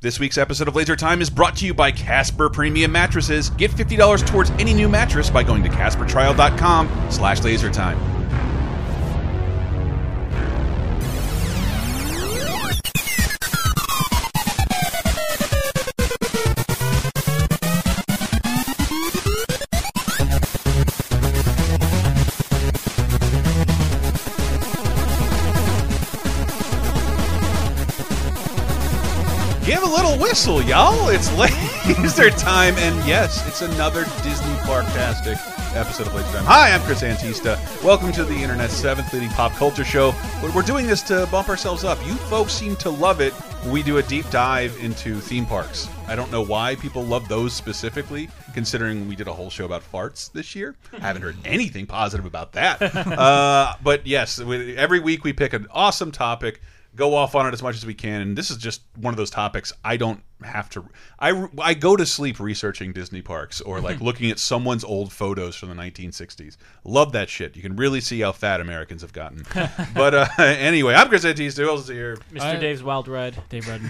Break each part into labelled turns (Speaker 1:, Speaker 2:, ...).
Speaker 1: This week's episode of Laser Time is brought to you by Casper Premium Mattresses. Get $50 towards any new mattress by going to CasperTrial.com slash lasertime. Give a little whistle, y'all. It's laser time, and yes, it's another Disney Parktastic episode of Laser Time. Hi, I'm Chris Antista. Welcome to the internet's seventh leading pop culture show. But we're doing this to bump ourselves up. You folks seem to love it when we do a deep dive into theme parks. I don't know why people love those specifically, considering we did a whole show about farts this year. I haven't heard anything positive about that. Uh, but yes, we- every week we pick an awesome topic go off on it as much as we can. And this is just one of those topics I don't have to. I I go to sleep researching Disney parks or like looking at someone's old photos from the 1960s. Love that shit. You can really see how fat Americans have gotten. but uh, anyway, I'm Chris Antista. Who else is here?
Speaker 2: Mr.
Speaker 3: I-
Speaker 2: Dave's Wild Ride, Dave Rudden.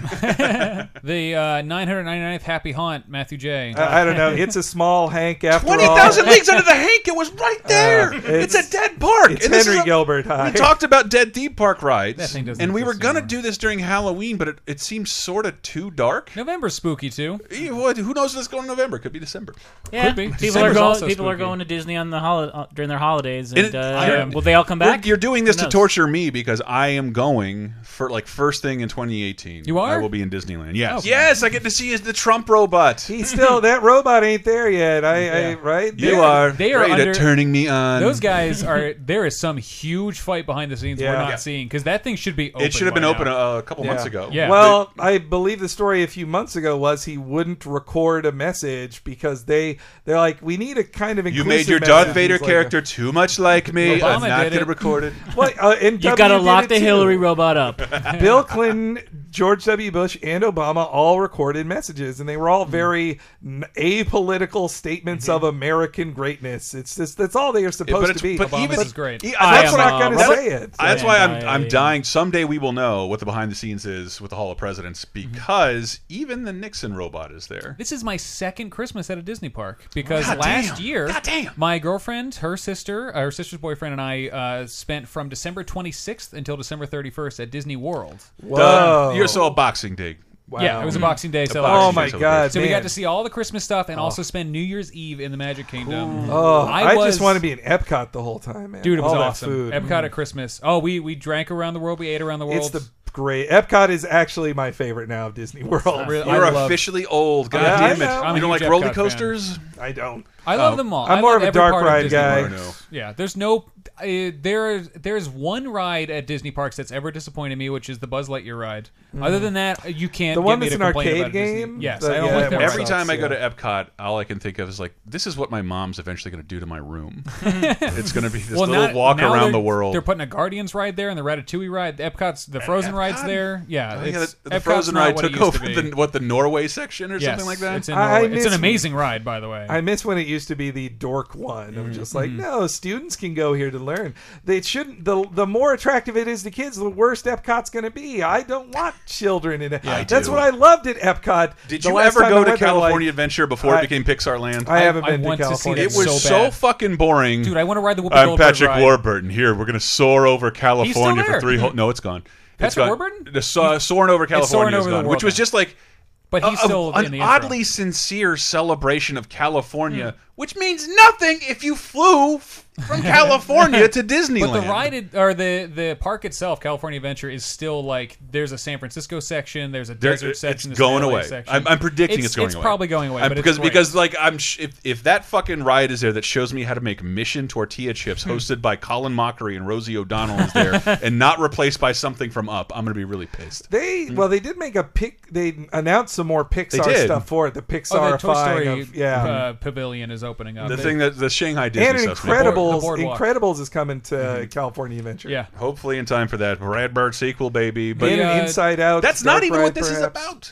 Speaker 3: The uh, 999th Happy Haunt, Matthew J.
Speaker 1: Uh,
Speaker 4: I I don't know. It's a small Hank after
Speaker 1: Twenty
Speaker 4: all.
Speaker 1: thousand leagues under the Hank. It was right there.
Speaker 4: Uh,
Speaker 1: it's,
Speaker 4: it's-
Speaker 1: a dead park.
Speaker 4: It's
Speaker 1: And this
Speaker 4: Henry
Speaker 1: is a-
Speaker 4: Gilbert.
Speaker 1: We
Speaker 4: Uh, Hi.
Speaker 1: talked about dead theme park rides,
Speaker 3: That thing doesn't
Speaker 1: and we were
Speaker 3: exist
Speaker 1: gonna
Speaker 3: anymore.
Speaker 1: do this during Halloween, but it, it seems sort of too dark.
Speaker 3: November's spooky too.
Speaker 1: Eh, what- Who knows if it's going in November? Could be December.
Speaker 2: yeah,
Speaker 3: be.
Speaker 2: people are
Speaker 3: December's
Speaker 2: going.
Speaker 3: also
Speaker 2: People are
Speaker 3: spooky.
Speaker 2: going to Disney on the holi- uh, during their holidays, and,
Speaker 1: it-
Speaker 2: uh,
Speaker 1: I
Speaker 3: am-
Speaker 2: will they all come back?
Speaker 1: We're- You're doing this
Speaker 2: Who
Speaker 1: to
Speaker 2: knows?
Speaker 1: torture me because I am going for like first thing in 2018.
Speaker 3: You are?
Speaker 1: I will be in Disneyland. Yes.
Speaker 3: Oh.
Speaker 1: Yes, I get to see is the Trump robot.
Speaker 4: He's still that robot ain't there yet. I, I
Speaker 3: Yeah.
Speaker 4: right.
Speaker 1: You
Speaker 4: They're-
Speaker 1: are
Speaker 3: they are
Speaker 1: great
Speaker 3: under-
Speaker 1: at turning me on.
Speaker 3: Those guys are. There is some huge fight behind the scenes we're
Speaker 4: Yeah.
Speaker 3: not
Speaker 4: Yeah.
Speaker 3: seeing because that thing should be. open
Speaker 1: It should have
Speaker 3: by
Speaker 1: been open uh,
Speaker 3: now.
Speaker 1: a, a couple months ago.
Speaker 3: Yeah.
Speaker 4: Well, I believe the story a few months ago was he wouldn't record a message because they they're like we need a kind of
Speaker 1: You
Speaker 4: inclusive
Speaker 1: made your
Speaker 4: message."
Speaker 1: Darth Vader
Speaker 4: He's like,
Speaker 1: character too much like me.
Speaker 3: Obama
Speaker 1: I'm not going
Speaker 3: did
Speaker 1: to
Speaker 3: it.
Speaker 1: record it.
Speaker 4: Well, uh, and
Speaker 2: You've
Speaker 4: W
Speaker 2: got to
Speaker 4: did
Speaker 2: lock
Speaker 4: it
Speaker 2: the
Speaker 4: too.
Speaker 2: Hillary robot up.
Speaker 4: Bill Clinton, George W. Bush, and Obama all recorded messages, and they were
Speaker 2: Hmm.
Speaker 4: all very n- apolitical statements
Speaker 2: Mm-hmm.
Speaker 4: of American greatness. It's just that's all they are supposed
Speaker 1: it's-
Speaker 4: to be.
Speaker 1: but
Speaker 3: Obama's
Speaker 1: even-
Speaker 3: is great.
Speaker 1: e-
Speaker 2: I
Speaker 4: that's
Speaker 2: am
Speaker 4: what
Speaker 2: a
Speaker 4: I'm going to
Speaker 2: Robert-
Speaker 4: say. It.
Speaker 1: That's
Speaker 2: Yeah.
Speaker 1: why I'm, I'm
Speaker 2: Yeah.
Speaker 1: dying. Someday we will know what the behind the scenes is with the Hall of Presidents
Speaker 3: Mm-hmm.
Speaker 1: because even the Nixon robot is there.
Speaker 3: This is my second Christmas at a Disney park because
Speaker 1: God
Speaker 3: last
Speaker 1: damn.
Speaker 3: year,
Speaker 1: God damn.
Speaker 3: my girlfriend, her sister, uh, her sister's boyfriend, and I uh, spent from December 26th until December 31st at Disney World.
Speaker 4: Whoa!
Speaker 1: You're so a boxing dig.
Speaker 3: Yeah, it was a Boxing Day celebration.
Speaker 4: oh
Speaker 1: Mm-hmm. boxing
Speaker 4: my
Speaker 1: day Oh.
Speaker 4: God!
Speaker 3: So we got
Speaker 4: man.
Speaker 3: to see all the Christmas stuff and also spend New Year's Eve in the Magic Kingdom.
Speaker 4: Oh, I,
Speaker 3: was-
Speaker 4: just want to be in Epcot the whole time, man.
Speaker 3: Dude, it was
Speaker 4: all that
Speaker 3: awesome.
Speaker 4: Food. Mm-hmm. mm.
Speaker 3: Epcot at Christmas. Oh, we we drank around the world. We ate around the world.
Speaker 4: it's the great. Epcot is actually my favorite now of Disney World.
Speaker 3: Really-
Speaker 1: You're
Speaker 3: I love,
Speaker 1: officially old. God
Speaker 4: Yeah,
Speaker 1: damn it.
Speaker 4: I know.
Speaker 3: I'm
Speaker 1: you
Speaker 3: a
Speaker 1: don't like
Speaker 3: huge
Speaker 1: roller
Speaker 3: Epcot fan.
Speaker 1: coasters?
Speaker 4: I don't.
Speaker 3: I love them all.
Speaker 4: Oh. I'm
Speaker 3: I
Speaker 4: more
Speaker 3: love
Speaker 4: of a
Speaker 3: every
Speaker 4: dark
Speaker 3: part of
Speaker 4: ride
Speaker 3: Disney
Speaker 4: guy.
Speaker 3: World.
Speaker 1: I know.
Speaker 3: Yeah, there's no uh, there there's one ride at Disney parks that's ever disappointed me, which is the Buz Lightyear ride. Other than that, you can't.
Speaker 4: Mm. The
Speaker 3: get
Speaker 4: one
Speaker 3: me
Speaker 4: that's
Speaker 3: to
Speaker 4: an
Speaker 3: complain
Speaker 4: arcade
Speaker 3: about a Disney-
Speaker 4: game?
Speaker 3: Yes,
Speaker 4: The-
Speaker 3: I don't
Speaker 4: yeah,
Speaker 3: like that.
Speaker 4: that
Speaker 3: ride.
Speaker 4: Right.
Speaker 1: Every
Speaker 4: Sucks,
Speaker 1: time I go to
Speaker 4: yeah.
Speaker 1: Epcot, all I can think of is like, this is what my mom's eventually going to do to my room. it's going to be this
Speaker 3: well,
Speaker 1: little
Speaker 3: now-
Speaker 1: walk
Speaker 3: now
Speaker 1: around
Speaker 3: they're-
Speaker 1: the world.
Speaker 3: They're putting a Guardians ride there and the Ratatouille ride. The Epcot's the Frozen ride's
Speaker 1: Epcot?
Speaker 3: there. Yeah,
Speaker 4: Oh,
Speaker 1: I think
Speaker 3: it's-
Speaker 1: the, the
Speaker 3: Epcot's
Speaker 1: Frozen
Speaker 3: not
Speaker 1: ride
Speaker 3: what
Speaker 1: took
Speaker 3: it used
Speaker 1: over
Speaker 3: to be.
Speaker 1: the, what the Norway section or
Speaker 3: Yes,
Speaker 1: something like that.
Speaker 3: It's, in
Speaker 4: I- I
Speaker 3: Norway. it's an
Speaker 4: miss-
Speaker 3: amazing ride, by the way.
Speaker 4: I miss when it used to be the dork one. I'm just
Speaker 3: Mm-hmm.
Speaker 4: like, no, students can go here to learn. They shouldn't. The the more attractive it is to kids, the worse Epcot's going to be. I don't want children in it.
Speaker 1: Yeah, I
Speaker 4: That's
Speaker 1: do.
Speaker 4: what I loved at Epcot.
Speaker 1: Did
Speaker 4: The
Speaker 1: you
Speaker 4: last
Speaker 1: ever
Speaker 4: time I
Speaker 1: go to
Speaker 4: went there, like,
Speaker 1: California Adventure before it
Speaker 4: I-
Speaker 1: became Pixar Land?
Speaker 4: I haven't
Speaker 3: I
Speaker 4: been
Speaker 3: want
Speaker 4: to
Speaker 3: to see
Speaker 4: California.
Speaker 3: that
Speaker 1: it was
Speaker 3: so
Speaker 1: so,
Speaker 3: bad.
Speaker 1: fucking boring.
Speaker 3: Dude, I want to ride the Whoopi
Speaker 1: I'm
Speaker 3: Goldberg
Speaker 1: Patrick
Speaker 3: ride.
Speaker 1: Warburton. Here, we're going to soar over California
Speaker 3: still
Speaker 1: for
Speaker 3: there.
Speaker 1: three whole. No, it's gone. it's
Speaker 3: Patrick
Speaker 1: gone.
Speaker 3: Warburton?
Speaker 1: The so, soaring over California is
Speaker 3: over the
Speaker 1: gone,
Speaker 3: world
Speaker 1: which was
Speaker 3: now.
Speaker 1: just like
Speaker 3: But he's
Speaker 1: a- a-
Speaker 3: still in
Speaker 1: an
Speaker 3: the intro.
Speaker 1: oddly sincere celebration of California,
Speaker 3: Hmm.
Speaker 1: which means nothing if you flew f- from California to Disneyland.
Speaker 3: But the ride it- or the the park itself, California Adventure, is still like there's a San Francisco section, there's a desert
Speaker 1: it's
Speaker 3: section, there's an
Speaker 1: going
Speaker 3: LA
Speaker 1: away.
Speaker 3: section.
Speaker 1: I'm, I'm predicting it's,
Speaker 3: it's,
Speaker 1: going
Speaker 3: it's
Speaker 1: away.
Speaker 3: probably going away,
Speaker 1: I'm-
Speaker 3: but it's
Speaker 1: because
Speaker 3: great.
Speaker 1: because like I'm sh if if that fucking ride is there that shows me how to make mission tortilla
Speaker 3: Hmm.
Speaker 1: chips hosted by Colin Mockery and Rosie O'Donnell is there and not replaced by something from Up, I'm gonna be really pissed.
Speaker 4: They well, they did make a pic. They announced some more Pixar
Speaker 1: Mm. did.
Speaker 4: stuff for it. The
Speaker 3: oh,
Speaker 4: Pixar
Speaker 3: the Toy Story
Speaker 4: yeah.
Speaker 3: uh, pavilion is opening up.
Speaker 1: The
Speaker 3: They-
Speaker 1: thing that the Shanghai Disney
Speaker 4: and
Speaker 1: stuff's
Speaker 3: incredible-
Speaker 1: making-
Speaker 4: Incredibles,
Speaker 3: The boardwalk. Mm-hmm.
Speaker 4: Incredibles is coming to California Adventure.
Speaker 3: yeah. uh,
Speaker 1: Hopefully in time for that Brad Bird sequel, baby. But
Speaker 4: and
Speaker 3: Yeah.
Speaker 4: an Inside Out.
Speaker 1: That's
Speaker 4: Dark
Speaker 1: not even what
Speaker 4: Ride,
Speaker 1: this is
Speaker 4: perhaps.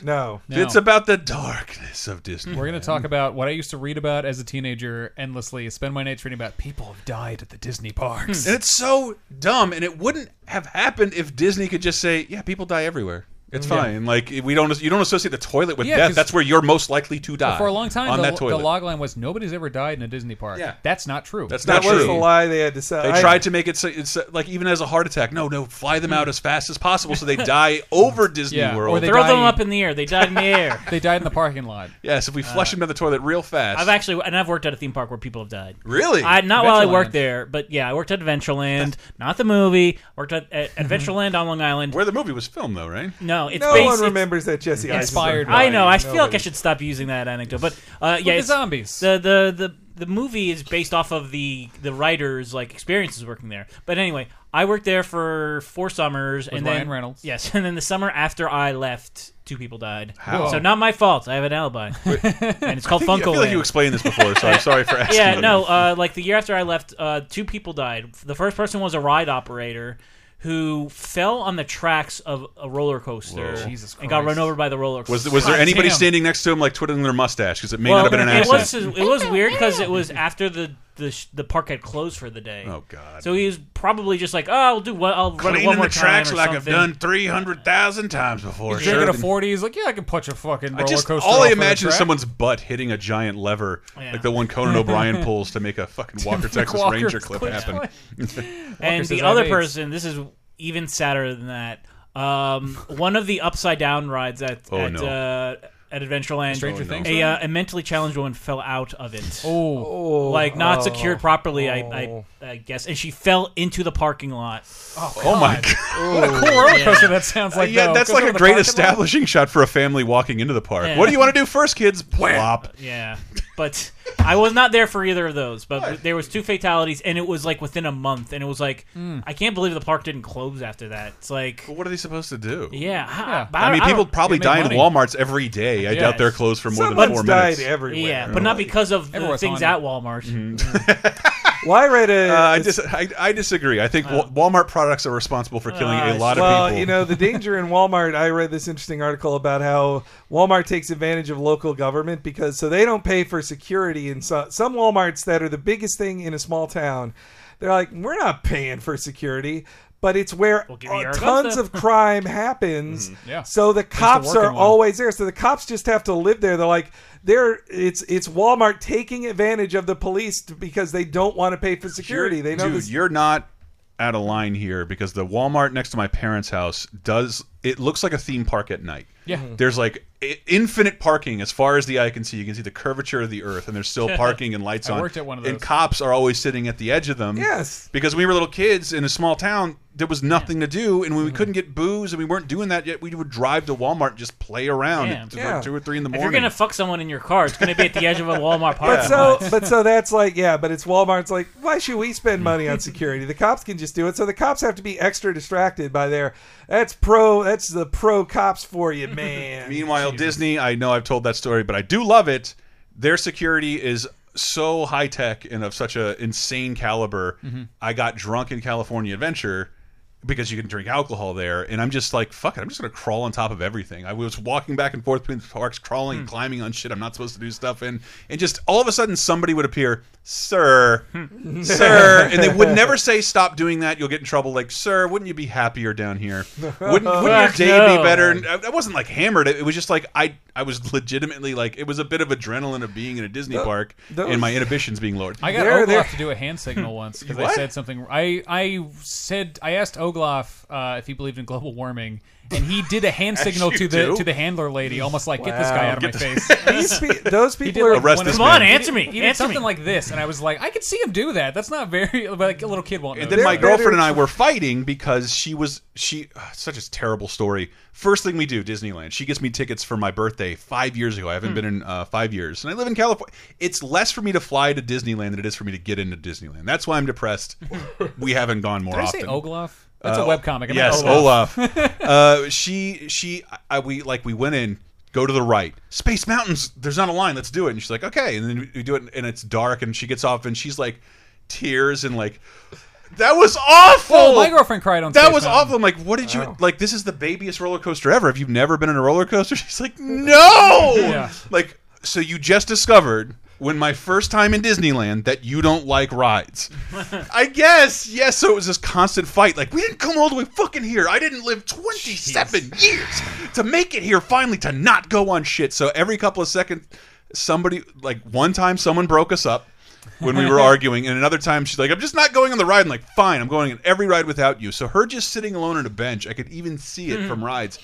Speaker 1: about.
Speaker 4: No,
Speaker 3: No.
Speaker 1: it's about the darkness of Disney.
Speaker 3: We're going to talk about what I used to read about as a teenager endlessly. Spend my nights reading about people who've died at the Disney parks.
Speaker 1: And it's so dumb, and it wouldn't have happened if Disney could just say, "Yeah, people die everywhere." It's fine. Like we don't you don't associate the toilet with
Speaker 3: Yeah,
Speaker 1: death.
Speaker 3: 'cause-
Speaker 1: That's where you're most likely to die.
Speaker 3: For a long time,
Speaker 1: Hmm. on
Speaker 3: the,
Speaker 1: that toilet.
Speaker 3: the log line was nobody's ever died in a Disney park.
Speaker 1: Yeah.
Speaker 3: That's not true.
Speaker 1: That's
Speaker 4: That
Speaker 1: not
Speaker 4: was
Speaker 1: true.
Speaker 4: the lie they had to sell.
Speaker 1: They
Speaker 4: I-
Speaker 1: tried to make it so, it's uh, like even as a heart attack. No, no, fly them out as fast as possible so they die over Disney
Speaker 3: Yeah, or
Speaker 1: World.
Speaker 3: they-
Speaker 2: Throw them
Speaker 3: die-
Speaker 2: up in the air. They died in the air.
Speaker 3: They died in the parking lot.
Speaker 1: yes, if we flush them down the toilet real fast.
Speaker 2: I've actually and I've worked at a theme park where people have died.
Speaker 1: really?
Speaker 2: I, not while I
Speaker 3: Adventureland.
Speaker 2: worked there, but yeah, I worked at Adventureland, not the movie. Worked at, at Adventureland on Long Island.
Speaker 1: where the movie was filmed though, right?
Speaker 2: No, it's
Speaker 4: No
Speaker 2: based,
Speaker 4: one
Speaker 2: it's-
Speaker 4: remembers that Jesse
Speaker 3: Inspired
Speaker 4: Eisenberg
Speaker 2: I know. I
Speaker 4: died.
Speaker 2: feel like I
Speaker 4: Nobody.
Speaker 2: should stop using that anecdote, but uh, yeah,
Speaker 3: the
Speaker 2: it's-
Speaker 3: zombies.
Speaker 2: The, the the the movie is based off of the the writers' like experiences working there. But anyway, I worked there for four summers, and then
Speaker 3: Ryan Reynolds.
Speaker 2: Yes, and then the summer after I left, two people died.
Speaker 1: How?
Speaker 2: So not my fault. I have an alibi, and it's called
Speaker 1: I feel
Speaker 2: Funko.
Speaker 1: like you explained this before, so I'm sorry for asking.
Speaker 2: yeah,
Speaker 1: you.
Speaker 2: no. Uh, like the year after I left, uh, two people died. The first person was a ride operator who fell on the tracks of a roller coaster
Speaker 1: Whoa.
Speaker 3: Jesus
Speaker 2: and got
Speaker 3: Christ.
Speaker 2: run over by the roller coaster.
Speaker 1: Was was there
Speaker 3: God
Speaker 1: anybody
Speaker 3: damn.
Speaker 1: standing next to him like twiddling their mustache? Because it may
Speaker 2: well,
Speaker 1: not have been an
Speaker 2: it
Speaker 1: accident.
Speaker 2: was it was weird because it was after the the, sh- the park had closed for the day.
Speaker 1: oh God.
Speaker 2: So he was probably just like, oh, I'll do what I'll run it
Speaker 1: Cleaning
Speaker 2: one more
Speaker 1: the tracks
Speaker 2: time or
Speaker 1: like I've
Speaker 2: something.
Speaker 1: done three hundred thousand times before.
Speaker 3: He's
Speaker 1: Sure.
Speaker 3: drinking a forty. He's like, yeah, I can punch a fucking roller
Speaker 1: I just
Speaker 3: coaster.
Speaker 1: all
Speaker 3: off
Speaker 1: I
Speaker 3: of the
Speaker 1: imagine is
Speaker 3: track.
Speaker 1: someone's butt hitting a giant lever,
Speaker 2: Yeah.
Speaker 1: like the one Conan O'Brien pulls to make a fucking Walker Texas
Speaker 3: Walker
Speaker 1: Ranger clip
Speaker 3: Texas
Speaker 1: happen.
Speaker 2: And
Speaker 3: says
Speaker 2: the
Speaker 3: I have
Speaker 2: other
Speaker 3: AIDS.
Speaker 2: person, this is even sadder than that. Um, one of the upside down rides at
Speaker 1: Oh,
Speaker 2: at,
Speaker 1: no.
Speaker 2: uh, at Adventureland,
Speaker 3: Stranger Oh, no. Things
Speaker 2: a, uh, a mentally challenged woman fell out of it.
Speaker 3: Oh,
Speaker 4: Oh,
Speaker 2: like not
Speaker 4: oh.
Speaker 2: secured properly, I,
Speaker 4: Oh.
Speaker 2: I, I guess, and she fell into the parking lot.
Speaker 1: Oh my god!
Speaker 3: what a cool roller coaster that sounds like.
Speaker 1: Uh, yeah,
Speaker 3: though.
Speaker 1: that's
Speaker 3: Goes
Speaker 1: like
Speaker 3: over
Speaker 1: a
Speaker 3: the
Speaker 1: great
Speaker 3: parking lot.
Speaker 1: establishing shot for a family walking into the park.
Speaker 2: Yeah.
Speaker 1: What do you want to do first, kids? Plop.
Speaker 2: Yeah, but I was not there for either of those. But there was two fatalities, and it was like within a month, and it was like
Speaker 3: Hmm.
Speaker 2: I can't believe the park didn't close after that. It's like,
Speaker 1: What are they supposed to do?
Speaker 2: yeah, I-
Speaker 3: Yeah.
Speaker 2: but
Speaker 1: I mean,
Speaker 2: don't-
Speaker 1: people
Speaker 2: don't-
Speaker 1: probably
Speaker 3: They make
Speaker 1: die
Speaker 3: money.
Speaker 1: in WalMarts every day. I
Speaker 3: Yeah.
Speaker 1: doubt they're closed for more than
Speaker 4: Someone's
Speaker 1: four
Speaker 4: died
Speaker 1: minutes.
Speaker 4: everywhere.
Speaker 2: Yeah, but not because of the
Speaker 3: Everyone's
Speaker 2: things
Speaker 3: on it.
Speaker 2: at Walmart.
Speaker 1: Mm-hmm.
Speaker 4: Well, I read a.
Speaker 1: Uh, I, dis- I, I disagree. I think Wa- Walmart products are responsible for killing
Speaker 2: Uh,
Speaker 1: a lot of
Speaker 4: well,
Speaker 1: people.
Speaker 4: you know, the danger in Walmart. I read this interesting article about how Walmart takes advantage of local government because so they don't pay for security in so, some WalMarts that are the biggest thing in a small town. They're like, we're not paying for security, but it's where
Speaker 2: give you
Speaker 4: uh,
Speaker 2: our
Speaker 4: tons
Speaker 2: Augusta."
Speaker 4: of crime happens.
Speaker 3: Yeah.
Speaker 4: So the cops
Speaker 3: working
Speaker 4: are
Speaker 3: one.
Speaker 4: always there. So the cops just have to live there. They're like. They're, it's it's Walmart taking advantage of the police t- because they don't want to pay for security.
Speaker 1: You're-
Speaker 4: They know
Speaker 1: dude,
Speaker 4: this.
Speaker 1: you're not out of line here because the Walmart next to my parents' house does. It looks like a theme park at night.
Speaker 3: Yeah.
Speaker 4: Mm-hmm.
Speaker 3: Mhm.
Speaker 1: there's like i- infinite parking as far as the eye can see. You can see the curvature of the earth, and there's still parking and lights
Speaker 3: I
Speaker 1: on.
Speaker 3: worked at one of
Speaker 1: And
Speaker 3: those.
Speaker 1: cops are always sitting at the edge of them.
Speaker 4: Yes.
Speaker 1: because when we were little kids in a small town. There was nothing to do, and when we
Speaker 3: Mm-hmm.
Speaker 1: couldn't get booze and we weren't doing that yet, we would drive to Walmart and just play around
Speaker 2: Yeah.
Speaker 1: at
Speaker 4: Yeah.
Speaker 1: like two or three in the
Speaker 2: If
Speaker 1: morning.
Speaker 2: you're gonna fuck someone in your car, it's gonna be at the edge of a Walmart parking
Speaker 4: But so,
Speaker 2: lot.
Speaker 4: but so that's like, yeah, but it's Walmart's like, why should we spend money on security? The cops can just do it. So the cops have to be extra distracted by their, that's pro, that's the pro cops for you, man.
Speaker 1: Meanwhile, Disney, I know I've told that story, but I do love it. Their security is so high tech and of such a insane caliber.
Speaker 2: Mm-hmm.
Speaker 1: I got drunk in California Adventure because you can drink alcohol there, and I'm just like, fuck it, I'm just gonna crawl on top of everything. I was walking back and forth between the parks, crawling,
Speaker 2: Hmm.
Speaker 1: climbing on shit I'm not supposed to do stuff in, and just all of a sudden somebody would appear, sir,
Speaker 2: Hmm.
Speaker 1: sir, and they would never say stop doing that. You'll get in trouble. Like, sir, wouldn't you be happier down here? Wouldn't, wouldn't your
Speaker 2: Fuck
Speaker 1: day be
Speaker 2: no.
Speaker 1: better? And I I wasn't like hammered. It it was just like I I was legitimately like it was a bit of adrenaline of being in a Disney park
Speaker 4: those-
Speaker 1: and my inhibitions being lowered.
Speaker 3: I got
Speaker 4: They're- they're-
Speaker 3: Ogloff to do a hand signal once because I
Speaker 1: What?
Speaker 3: said something. I I said I asked Ogloff uh, if he believed in global warming, and he did a hand signal
Speaker 1: you
Speaker 3: to the
Speaker 1: do.
Speaker 3: to the handler lady, almost like get this guy out of my face.
Speaker 4: These pe- those people
Speaker 3: did
Speaker 4: are,
Speaker 3: like
Speaker 1: Arrest
Speaker 3: one
Speaker 1: this
Speaker 3: of-
Speaker 2: Come on,
Speaker 1: man.
Speaker 2: answer me.
Speaker 3: He did
Speaker 2: answer
Speaker 3: something
Speaker 2: me.
Speaker 3: like this, and I was like, I could see him do that. That's not very like a little kid won't.
Speaker 1: and
Speaker 3: know.
Speaker 1: then my
Speaker 4: They're better-
Speaker 1: girlfriend and I were fighting because she was she ugh, such a terrible story. First thing we do, Disneyland. She gets me tickets for my birthday five years ago. I
Speaker 3: Hmm.
Speaker 1: haven't been in uh, five years, and I live in California. It's less for me to fly to Disneyland than it is for me to get into Disneyland. That's why I'm depressed. we haven't gone more
Speaker 3: Did I
Speaker 1: often. Uh,
Speaker 3: say Ogloff? That's a webcomic. I'm
Speaker 1: yes,
Speaker 3: not Olaf.
Speaker 1: Olaf. uh, she she I, we like we went in. Go to the right. Space Mountains. There's not a line. Let's do it. And she's like, okay. And then we- we do it, and it's dark. And she gets off, and she's like, tears and like, that was awful.
Speaker 3: Well, Oh, my girlfriend cried on
Speaker 1: Oh! That
Speaker 3: Space
Speaker 1: was
Speaker 3: Mountain. Oh.
Speaker 1: awful. I'm like, what did you like? This is the babiest roller coaster ever. Have you never been in a roller coaster? She's like, no.
Speaker 3: Yeah.
Speaker 1: Like, so you just discovered when my first time in Disneyland that you don't like rides. I guess, yes, so it was this constant fight. Like, we didn't come all the way fucking here. I didn't live 27 years to make it here finally to not go on shit. So every couple of seconds, somebody, like, one time someone broke us up when we were arguing, and another time she's like, "I'm just not going on the ride." I'm like, "Fine, I'm going on every ride without you." So her just sitting alone on a bench, I could even see it from rides.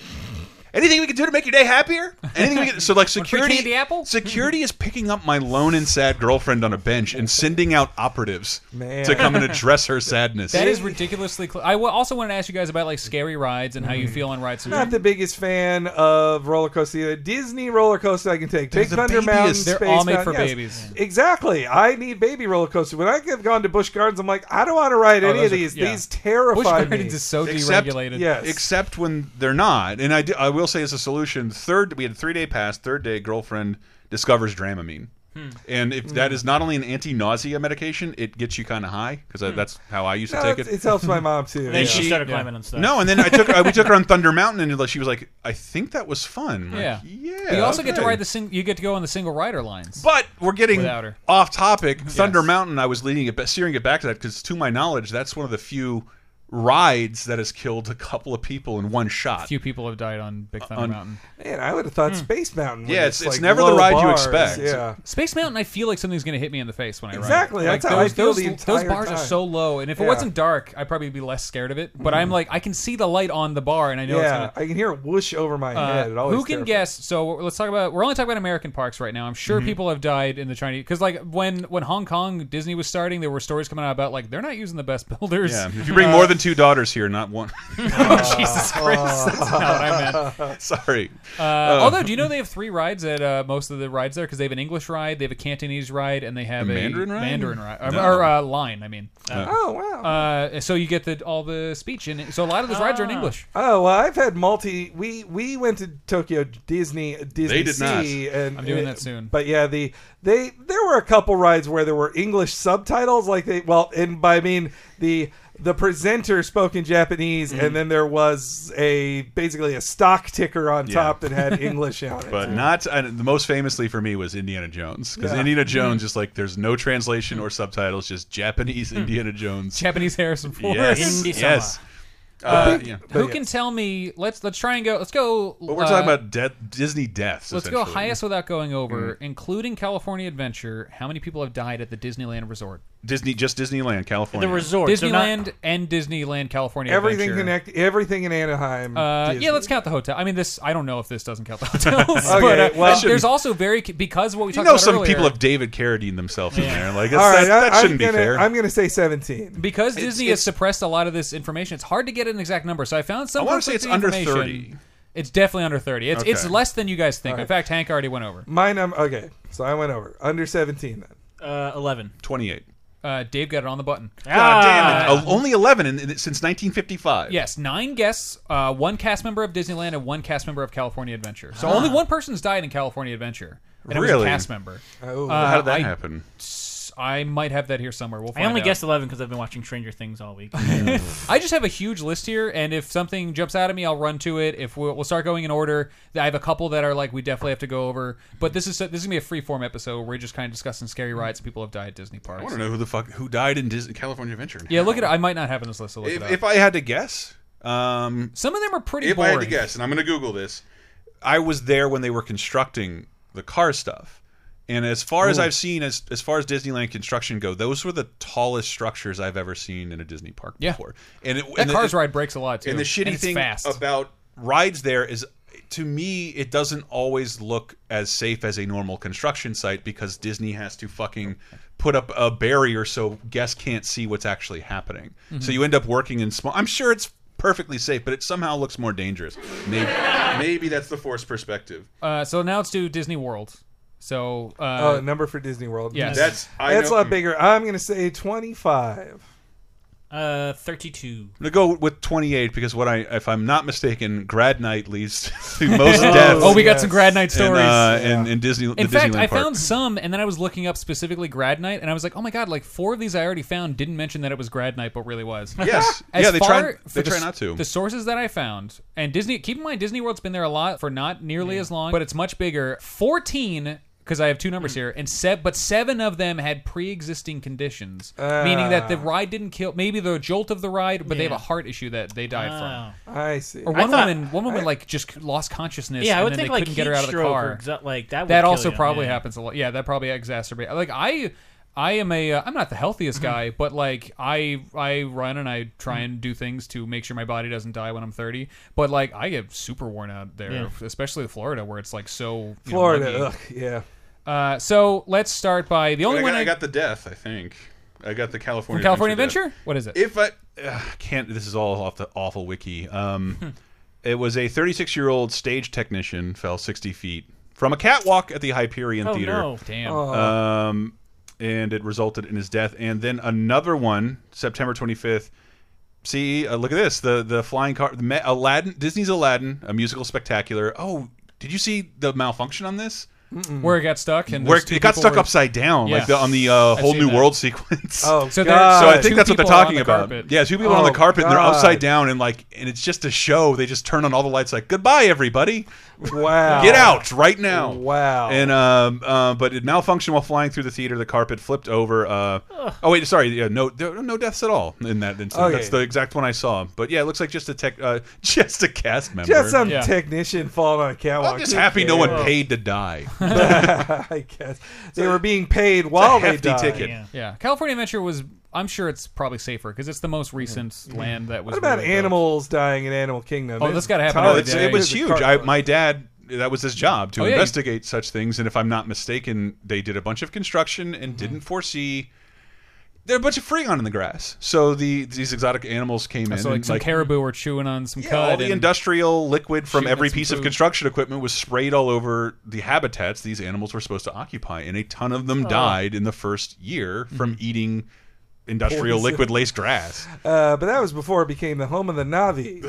Speaker 1: Anything we could do to make your day happier? Anything we could so like security
Speaker 3: candy apple?
Speaker 1: security is picking up my lone and sad girlfriend on a bench and sending out operatives
Speaker 4: Man.
Speaker 1: to come and address her sadness.
Speaker 3: That is ridiculously close. I w- also wanted to ask you guys about like scary rides and how you feel on rides.
Speaker 4: Mm. Not the biggest fan of roller coaster. Disney roller coaster I can take.
Speaker 1: They're
Speaker 4: Big
Speaker 1: the
Speaker 4: Thunder
Speaker 1: babiest.
Speaker 4: Mountain,
Speaker 1: They're
Speaker 4: Space
Speaker 3: all made
Speaker 4: Mountain,
Speaker 3: for
Speaker 4: yes.
Speaker 3: babies.
Speaker 4: Exactly. I need baby roller coaster. When I have gone to Busch Gardens, I'm like, I don't want to ride any
Speaker 3: Oh, those
Speaker 4: of
Speaker 3: are-
Speaker 4: these.
Speaker 3: yeah.
Speaker 4: These
Speaker 3: Busch
Speaker 4: terrify me.
Speaker 3: Gardens is so
Speaker 1: Except-
Speaker 3: deregulated.
Speaker 4: yes.
Speaker 1: except when they're not. And I, do- I will say as a solution, third we had three day pass. Third day, girlfriend discovers Dramamine,
Speaker 3: Hmm.
Speaker 1: and if
Speaker 4: Hmm.
Speaker 1: that is not only an anti nausea medication, it gets you kind of high because
Speaker 3: Hmm.
Speaker 1: that's how I used to
Speaker 4: No,
Speaker 1: take
Speaker 4: it's-
Speaker 1: it.
Speaker 4: it helps my mom too.
Speaker 2: Then
Speaker 4: Yeah.
Speaker 2: she
Speaker 1: she-
Speaker 2: started
Speaker 3: yeah.
Speaker 2: climbing and stuff.
Speaker 1: no, and then I took I, we took her on Thunder Mountain, and she was like, "I think that was fun." Like,
Speaker 3: Yeah.
Speaker 1: yeah.
Speaker 3: But you also get to
Speaker 1: okay.
Speaker 3: ride the sing- you get to go on the single rider lines.
Speaker 1: But we're getting
Speaker 3: Without her.
Speaker 1: off topic. Thunder
Speaker 3: Yes.
Speaker 1: Mountain. I was leading it, ba- steering it back to that because, to my knowledge, that's one of the few rides that has killed a couple of people in one shot.
Speaker 3: Few people have died on
Speaker 4: Uh,
Speaker 3: Big Thunder
Speaker 1: On-
Speaker 3: Mountain.
Speaker 4: Man, I would have
Speaker 3: Hmm.
Speaker 4: thought Space Mountain. when
Speaker 1: Yeah, it's- it's
Speaker 4: like
Speaker 1: never the
Speaker 4: low
Speaker 1: ride you
Speaker 4: bars.
Speaker 1: expect.
Speaker 4: Yeah,
Speaker 3: Space Mountain, I feel like something's going to hit me in the face when I
Speaker 4: Exactly,
Speaker 3: ride. it.
Speaker 4: that's how I
Speaker 3: Like,
Speaker 4: feel
Speaker 3: those,
Speaker 4: the
Speaker 3: those,
Speaker 4: entire
Speaker 3: those bars are
Speaker 4: time.
Speaker 3: so low, and if it
Speaker 4: Yeah. Mm.
Speaker 3: wasn't dark, I'd probably be less scared of it. But I'm like, I can see the light on the bar, and I know it's
Speaker 4: yeah.
Speaker 3: going to.
Speaker 4: I can hear it whoosh over my head. It always
Speaker 3: Uh, who can
Speaker 4: terrifies-
Speaker 3: guess? So let's talk about. We're only talking about American parks right now. I'm
Speaker 1: Mm-hmm.
Speaker 3: sure people have died in the Chinese because, like, when when Hong Kong Disney was starting, there were stories coming out about like they're not using the best builders.
Speaker 1: Yeah, if you bring more than
Speaker 3: Uh,
Speaker 1: two daughters here, not one.
Speaker 3: oh, Jesus Christ, that's not what I meant.
Speaker 1: Sorry.
Speaker 3: Uh,
Speaker 1: Oh.
Speaker 3: although, do you know they have three rides at uh, most of the rides there? Because they have an English ride, they have a Cantonese ride, and they have a,
Speaker 1: Mandarin ride?
Speaker 3: Mandarin ride or,
Speaker 1: No.
Speaker 3: or, uh, line. I mean,
Speaker 4: Oh wow.
Speaker 3: uh, so you get the all the speech in it. So a lot of those rides are
Speaker 1: Ah.
Speaker 3: in English.
Speaker 4: Oh well, I've had multi. We we went to Tokyo Disney Disney
Speaker 1: did
Speaker 4: Sea, and
Speaker 3: I'm doing
Speaker 4: and-
Speaker 3: that soon.
Speaker 4: But yeah, the they there were a couple rides where there were English subtitles, like they well, and by I mean the the presenter spoke in Japanese,
Speaker 3: Mm-hmm.
Speaker 4: and then there was a basically a stock ticker on top that had English on it.
Speaker 1: But not I, the most famously for me was Indiana Jones because
Speaker 4: Yeah.
Speaker 1: Indiana
Speaker 3: Mm.
Speaker 1: Jones just like there's no translation or subtitles, just Japanese Indiana Jones.
Speaker 3: Hmm. Japanese Harrison Ford.
Speaker 1: Yes,
Speaker 2: Indie
Speaker 1: yes. Uh, yeah.
Speaker 3: Who
Speaker 4: yeah.
Speaker 3: can tell me? Let's let's try and go. Let's go. uh,
Speaker 1: But we're talking about death, Disney deaths.
Speaker 3: Let's go
Speaker 1: essentially. Mm-hmm.
Speaker 3: highest without going over, including California Adventure. How many people have died at the Disneyland Resort?
Speaker 1: Disney, just Disneyland, California.
Speaker 2: The
Speaker 1: Oh,
Speaker 2: resort. so not-
Speaker 3: Disneyland and Disneyland California
Speaker 4: everything
Speaker 3: Adventure.
Speaker 4: connect everything in Anaheim.
Speaker 3: Uh,
Speaker 4: Disney.
Speaker 3: yeah, let's count the hotel. I mean, this I don't know if this doesn't count the hotels,
Speaker 4: Okay,
Speaker 3: but uh,
Speaker 4: well-
Speaker 3: there's also very because what we
Speaker 1: You
Speaker 3: talked
Speaker 1: know,
Speaker 3: about
Speaker 1: some
Speaker 3: earlier,
Speaker 1: people have David Carradine themselves in there. Like,
Speaker 4: All
Speaker 1: that's-
Speaker 4: right,
Speaker 1: that,
Speaker 4: I- I'm
Speaker 1: shouldn't
Speaker 4: gonna-
Speaker 1: be fair.
Speaker 4: I'm going to say seventeen.
Speaker 3: because Disney has
Speaker 1: it's-
Speaker 3: suppressed a lot of this information. It's hard to get an exact number, so I found some.
Speaker 1: I wanna say it's
Speaker 3: conflicting
Speaker 1: under
Speaker 3: information.
Speaker 1: 30.
Speaker 3: It's definitely under thirty. It's it's
Speaker 1: Okay.
Speaker 3: less than you guys think. In fact, Hank already went over.
Speaker 4: My number. Okay, so I went over under seventeen then.
Speaker 2: Uh, Eleven.
Speaker 1: 28.
Speaker 3: Uh, Dave got it on the button.
Speaker 1: God
Speaker 2: Ah.
Speaker 1: damn it. Oh, only 11 in, in, since 1955.
Speaker 3: Yes, nine guests, uh, one cast member of Disneyland and one cast member of California Adventure. So only one person's died in California Adventure. And it was a
Speaker 1: Ah. Really?
Speaker 3: cast member.
Speaker 4: Oh,
Speaker 1: How did
Speaker 3: Uh,
Speaker 1: that
Speaker 3: I-
Speaker 1: happen?
Speaker 3: I might have that here somewhere. We'll
Speaker 2: I
Speaker 3: find
Speaker 2: only
Speaker 3: out.
Speaker 2: guessed eleven because I've been watching Stranger Things all week.
Speaker 3: I just have a huge list here, and if something jumps out at me, I'll run to it. If we'll, we'll start going in order, I have a couple that are like we definitely have to go over. But this is this is gonna be a free form episode where we're just kind of discussing scary rides and people have died at Disney
Speaker 1: Hmm. I want
Speaker 3: parks.
Speaker 1: to know who the fuck who died in Disney, California Adventure.
Speaker 3: Yeah, look at it. I might not have in this list. So look it
Speaker 1: If,
Speaker 3: up.
Speaker 1: if I had to guess, um,
Speaker 3: Some of them are pretty
Speaker 1: if
Speaker 3: boring.
Speaker 1: I had to guess, and I'm going to Google this, I was there when they were constructing the car stuff. And as far as I've seen, as as far as Disneyland construction go, those were the tallest structures I've ever seen in a Disney park
Speaker 3: Yeah.
Speaker 1: before. And it,
Speaker 3: that
Speaker 1: and the-
Speaker 3: cars ride breaks a lot too.
Speaker 1: And the shitty
Speaker 3: it's
Speaker 1: thing
Speaker 3: fast.
Speaker 1: about rides there is, to me, it doesn't always look as safe as a normal construction site because Disney has to fucking put up a barrier so guests can't see what's actually happening. So you end up working in small. I'm sure it's perfectly safe, but it somehow looks more dangerous. Maybe, maybe that's the forced perspective.
Speaker 3: uh, so now let's do Disney World. So
Speaker 4: Oh,
Speaker 3: uh,
Speaker 4: number for Disney World.
Speaker 3: Yes.
Speaker 1: That's I
Speaker 4: That's a
Speaker 1: know-
Speaker 4: lot bigger. I'm going to say 25.
Speaker 2: uh, Thirty-two.
Speaker 1: I'm gonna go with 28 because what I, if I'm not mistaken, grad night leads to most deaths.
Speaker 3: oh, we got
Speaker 4: yes.
Speaker 3: some grad night
Speaker 1: in,
Speaker 3: stories.
Speaker 1: uh, in, in Disney.
Speaker 3: In
Speaker 1: the
Speaker 3: fact,
Speaker 1: Disneyland
Speaker 3: I
Speaker 1: park.
Speaker 3: found some, and then I was looking up specifically Grad Night, and I was like, "Oh my god!" Like four of these I already found didn't mention that it was Grad Night, but really was.
Speaker 1: Yes.
Speaker 3: As
Speaker 1: yeah, they
Speaker 3: far-
Speaker 1: try.
Speaker 3: for
Speaker 1: They
Speaker 3: the
Speaker 1: try
Speaker 3: s-
Speaker 1: not to.
Speaker 3: The sources that I found, and Disney. Keep in mind, Disney World's been there a lot for not nearly as long, but it's much bigger. Fourteen because I have two numbers here, and se- but seven of them had pre-existing conditions, meaning that the ride didn't kill. Maybe the jolt of the ride, but they have a
Speaker 2: Yeah.
Speaker 3: heart issue that they died
Speaker 2: Oh.
Speaker 4: I see.
Speaker 3: from. Or one
Speaker 2: thought-
Speaker 3: woman, one woman like just lost consciousness.
Speaker 2: Yeah, I
Speaker 3: and
Speaker 2: would
Speaker 3: then
Speaker 2: think
Speaker 3: they
Speaker 2: like
Speaker 3: couldn't get her
Speaker 2: heat
Speaker 3: out of the
Speaker 2: stroke or
Speaker 3: car.
Speaker 2: exa- like that. Would
Speaker 3: that
Speaker 2: kill
Speaker 3: also
Speaker 2: you,
Speaker 3: probably
Speaker 2: yeah.
Speaker 3: happens a lot. Yeah, that probably exacerbates. Like I, I am a, uh, I'm not the
Speaker 2: Mm-hmm.
Speaker 3: healthiest guy, but like I, I run and I try and do things to make sure my body doesn't die when I'm 30. But like I get super worn out there,
Speaker 2: Yeah.
Speaker 3: especially in Florida where it's like so you know, muggy.
Speaker 4: Florida. Ugh, yeah.
Speaker 3: Uh, so let's start by the only
Speaker 1: I
Speaker 3: one
Speaker 1: got, I got the death. I think I got the California
Speaker 3: California
Speaker 1: Adventure.
Speaker 3: Adventure.
Speaker 1: death.
Speaker 3: What is it?
Speaker 1: If I ugh, can't, this is all off the awful wiki. Um, it was a 36 year old stage technician fell 60 feet from a catwalk at the Hyperion
Speaker 2: Oh
Speaker 1: Theater.
Speaker 2: no!
Speaker 3: Damn.
Speaker 1: um, and it resulted in his death. And then another one, September 25th. See, uh, look at this the the flying car, the Ma- Aladdin, Disney's Aladdin, a musical spectacular. Oh, did you see the malfunction on this?
Speaker 3: where it got stuck and
Speaker 1: Where
Speaker 3: those two
Speaker 1: it got
Speaker 3: people
Speaker 1: stuck
Speaker 3: were-
Speaker 1: upside down,
Speaker 3: Yeah.
Speaker 1: like the, on the uh, whole
Speaker 3: seen
Speaker 1: new
Speaker 3: that.
Speaker 1: world sequence.
Speaker 4: Oh,
Speaker 3: So
Speaker 4: so
Speaker 3: there-
Speaker 4: God.
Speaker 1: So I
Speaker 3: Uh,
Speaker 1: think
Speaker 3: two
Speaker 1: that's what they're
Speaker 3: people are on
Speaker 1: talking
Speaker 3: the
Speaker 1: about.
Speaker 3: carpet.
Speaker 1: Yeah, two people on the
Speaker 4: Oh,
Speaker 1: carpet and they're
Speaker 4: God.
Speaker 1: upside down and like, and it's just a show. They just turn on all the lights, like goodbye everybody,
Speaker 4: wow.
Speaker 1: get out right now.
Speaker 4: Wow.
Speaker 1: And um, uh, but it malfunctioned while flying through the theater. The carpet flipped over. Uh, oh wait, sorry. Yeah, no, there were no deaths at all in that incident.
Speaker 4: Okay.
Speaker 1: That's the exact one I saw. But yeah, it looks like just a tech, uh, just a cast member.
Speaker 4: Just some
Speaker 3: Yeah.
Speaker 4: technician falling on a catwalk.
Speaker 1: I'm just
Speaker 4: Who
Speaker 1: happy no one
Speaker 4: cares?
Speaker 1: paid to die.
Speaker 4: I guess they were being paid while they
Speaker 1: hefty
Speaker 4: died.
Speaker 1: ticket.
Speaker 2: Yeah.
Speaker 3: Yeah, California Adventure was. I'm sure it's probably safer because it's the most recent land that was.
Speaker 4: What about
Speaker 3: really built.
Speaker 4: animals dying in Animal Kingdom?
Speaker 3: Oh,
Speaker 4: It's
Speaker 3: that's gotta happen
Speaker 1: No,
Speaker 3: Oh,
Speaker 4: tough.
Speaker 1: it's,
Speaker 3: yeah,
Speaker 1: it was
Speaker 4: There's a
Speaker 1: huge.
Speaker 4: car-
Speaker 1: I, my dad, that was his job to
Speaker 3: Oh, yeah, you-
Speaker 1: investigate such things. And if I'm not mistaken, they did a bunch of construction
Speaker 3: Mm-hmm.
Speaker 1: and didn't foresee. There are a bunch of freon in the grass, so the these exotic animals came in.
Speaker 3: So like
Speaker 1: and,
Speaker 3: some caribou were chewing on some
Speaker 1: Yeah,
Speaker 3: cud.
Speaker 1: all the
Speaker 3: and-
Speaker 1: industrial liquid from
Speaker 3: shooting
Speaker 1: every
Speaker 3: at some
Speaker 1: piece of
Speaker 3: food.
Speaker 1: construction equipment was sprayed all over the habitats these animals were supposed to occupy, and a ton of
Speaker 4: Oh.
Speaker 1: them died in the first year from
Speaker 3: Mm-hmm.
Speaker 1: eating industrial
Speaker 4: Poison.
Speaker 1: liquid lace grass.
Speaker 4: Uh, but that was before it became the home of the Navi.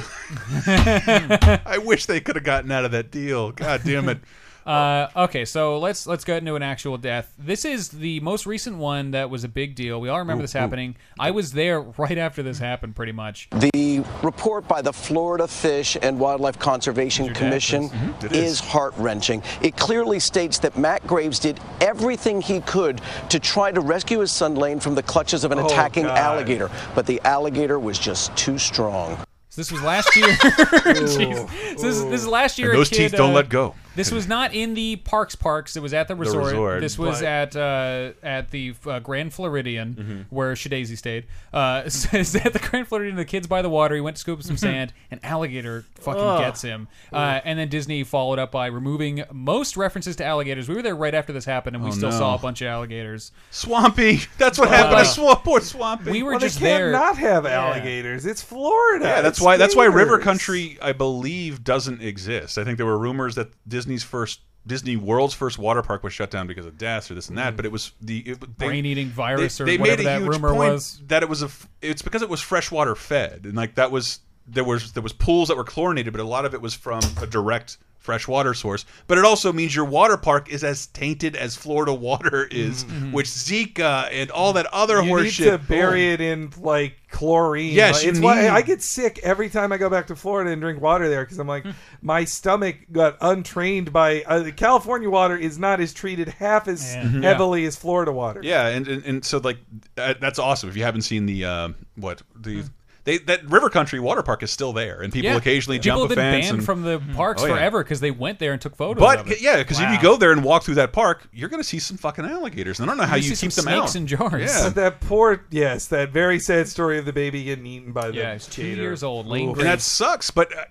Speaker 1: I wish they could have gotten out of that deal. God damn it.
Speaker 3: Uh, okay, so let's let's get into an actual death. This is the most recent one that was a big deal. We all remember this happening. I was there right after this happened, pretty much.
Speaker 5: The report by the Florida Fish and Wildlife Conservation
Speaker 3: dad
Speaker 5: Commission
Speaker 1: It is.
Speaker 5: is heart wrenching. It clearly states that Matt Graves did everything he could to try to rescue his son Lane from the clutches of an attacking
Speaker 4: God.
Speaker 5: alligator, but the alligator was just too strong.
Speaker 3: So this was last year. Jeez. So this, is- this is last year.
Speaker 1: And
Speaker 3: a
Speaker 1: those
Speaker 3: kid,
Speaker 1: teeth don't
Speaker 3: uh,
Speaker 1: let go.
Speaker 3: This was not in the parks. Parks. It was at the resort.
Speaker 1: resort,
Speaker 3: this was at
Speaker 4: but-
Speaker 3: uh, at the uh, Grand Floridian
Speaker 1: Mm-hmm.
Speaker 3: where Shadazy stayed. Uh, so it's at the Grand Floridian. The kids by the water. He went to scoop some sand. An alligator fucking gets him. Uh, and then Disney followed up by removing most references to alligators. We were there right after this happened, and we still
Speaker 1: Oh, no.
Speaker 3: saw a bunch of alligators.
Speaker 1: Swampy. That's what happened to Swamp. Poor Swampy.
Speaker 3: Uh, We were
Speaker 4: Well, they
Speaker 3: just
Speaker 4: can't
Speaker 3: there.
Speaker 4: not have alligators. It's Florida.
Speaker 1: yeah, that's
Speaker 4: It's
Speaker 1: why. That's why River
Speaker 4: theirs.
Speaker 1: Country, I believe, doesn't exist. I think there were rumors that Disney's first, Disney World's first water park was shut down because of deaths or this and that. But it was the it, they-
Speaker 3: Hmm. Brain-eating
Speaker 1: they,
Speaker 3: virus or
Speaker 1: they
Speaker 3: whatever
Speaker 1: made a
Speaker 3: that
Speaker 1: huge
Speaker 3: rumor
Speaker 1: point
Speaker 3: was.
Speaker 1: that it was a. f- It's because it was freshwater fed, and like that was there was there was pools that were chlorinated, but a lot of it was from a direct freshwater source. But it also means your water park is as tainted as Florida water is,
Speaker 3: Mm-hmm.
Speaker 1: which Zika and all that other
Speaker 4: You need
Speaker 1: horseshit.
Speaker 4: to bury it in like chlorine.
Speaker 1: Yes,
Speaker 4: Like,
Speaker 1: you
Speaker 4: it's why
Speaker 1: need-
Speaker 4: I get sick every time I go back to Florida and drink water there because I'm
Speaker 3: Hmm.
Speaker 4: like my stomach got untrained by uh, the California water is not as treated half as
Speaker 3: Mm-hmm.
Speaker 4: heavily as Florida water.
Speaker 1: Yeah, and, and and so like uh, that's awesome. If you haven't seen the uh, what the they that River Country Water Park is still there, and people
Speaker 3: Hmm. Yeah.
Speaker 1: occasionally
Speaker 3: People
Speaker 1: jump
Speaker 3: have
Speaker 1: a
Speaker 3: been
Speaker 1: fence.
Speaker 3: banned
Speaker 1: and,
Speaker 3: from the parks
Speaker 1: Oh, yeah.
Speaker 3: forever because they went there and took photos.
Speaker 1: but
Speaker 3: of it.
Speaker 1: yeah, because if you go there and walk through that park, you're gonna see some fucking alligators, and I don't know how
Speaker 3: You
Speaker 1: you,
Speaker 3: see
Speaker 1: keep
Speaker 3: some
Speaker 1: them out.
Speaker 3: snakes in jars.
Speaker 1: Yeah.
Speaker 4: But that poor yes, that very sad story of the baby getting eaten by the
Speaker 3: Yeah, he's two
Speaker 4: gator.
Speaker 3: years old, Lane
Speaker 4: Oof.
Speaker 1: and that sucks. But uh,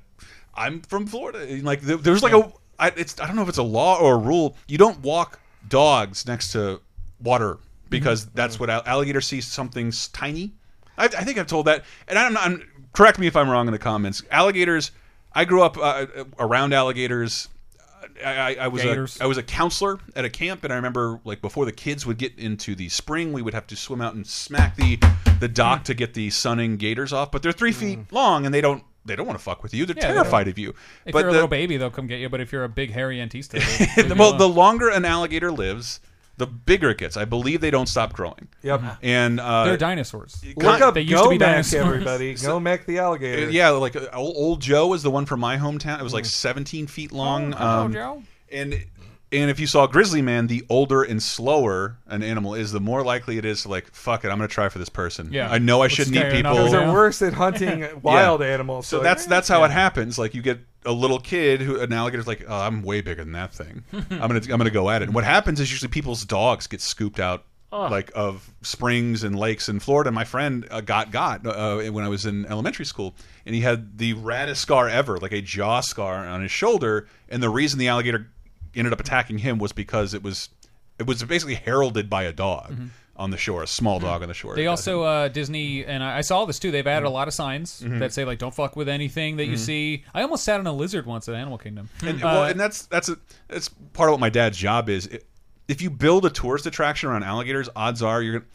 Speaker 1: I'm from Florida. and, Like there- there's like a I, it's I don't know if it's a law or a rule. You don't walk dogs next to water because that's what al- alligator sees something s- tiny. I, I think I've told that, and I'm not. I'm, correct me if I'm wrong in the comments. Alligators. I grew up uh, around alligators. I, I, I was
Speaker 3: Gators.
Speaker 1: a I was a counselor at a camp, and I remember like before the kids would get into the spring, we would have to swim out and smack the the
Speaker 3: Hmm.
Speaker 1: dock to get the sunning gators off. But they're three feet long, and they don't they don't want to fuck with you. They're
Speaker 3: Yeah, they
Speaker 1: terrified of you.
Speaker 3: If
Speaker 1: but
Speaker 3: you're
Speaker 1: the,
Speaker 3: a little baby, they'll come get you. But if you're a big hairy antista, uh, they'll leave you
Speaker 1: well,
Speaker 3: alone.
Speaker 1: the longer an alligator lives, the bigger it gets. I believe they don't stop growing.
Speaker 4: Yep.
Speaker 1: And uh,
Speaker 3: they're dinosaurs.
Speaker 4: Look up
Speaker 3: Uh-huh. They used to be
Speaker 4: Gomek,
Speaker 3: dinosaurs.
Speaker 4: everybody. Gomek the alligator.
Speaker 1: Uh, Yeah, like uh, old, old Joe was the one from my hometown. It was like 17 feet long.
Speaker 3: hello,
Speaker 1: um,
Speaker 3: Joe.
Speaker 1: And And if you saw Grizzly Man, the older and slower an animal is, the more likely it is to like, fuck it, I'm gonna try for this person.
Speaker 3: Yeah.
Speaker 1: I know I
Speaker 3: Let's
Speaker 1: shouldn't eat
Speaker 3: scare another
Speaker 1: people.
Speaker 4: Because
Speaker 3: Yeah.
Speaker 4: they're worse at hunting wild
Speaker 1: Yeah.
Speaker 4: animals.
Speaker 1: So
Speaker 4: like,
Speaker 1: that's that's how it happens. Like you get a little kid who an alligator's like, oh, I'm way bigger than that thing. I'm gonna I'm gonna go at it. And what happens is usually people's dogs get scooped out. Like of springs and lakes in Florida, my friend uh, got got uh, when I was in elementary school, and he had the raddest scar ever, like a jaw scar on his shoulder. And the reason the alligator ended up attacking him was because it was it was basically heralded by a dog on the shore, a small dog on the shore.
Speaker 3: They
Speaker 1: It
Speaker 3: also uh, Disney and I I saw this too. They've added
Speaker 1: Mm-hmm.
Speaker 3: a lot of signs that say like "Don't fuck with anything that you see." I almost sat on a lizard once at Animal Kingdom.
Speaker 1: And, well,
Speaker 3: Uh,
Speaker 1: and that's that's a, that's part of what my dad's job is. It- If you build a tourist attraction around alligators, odds are you're gonna,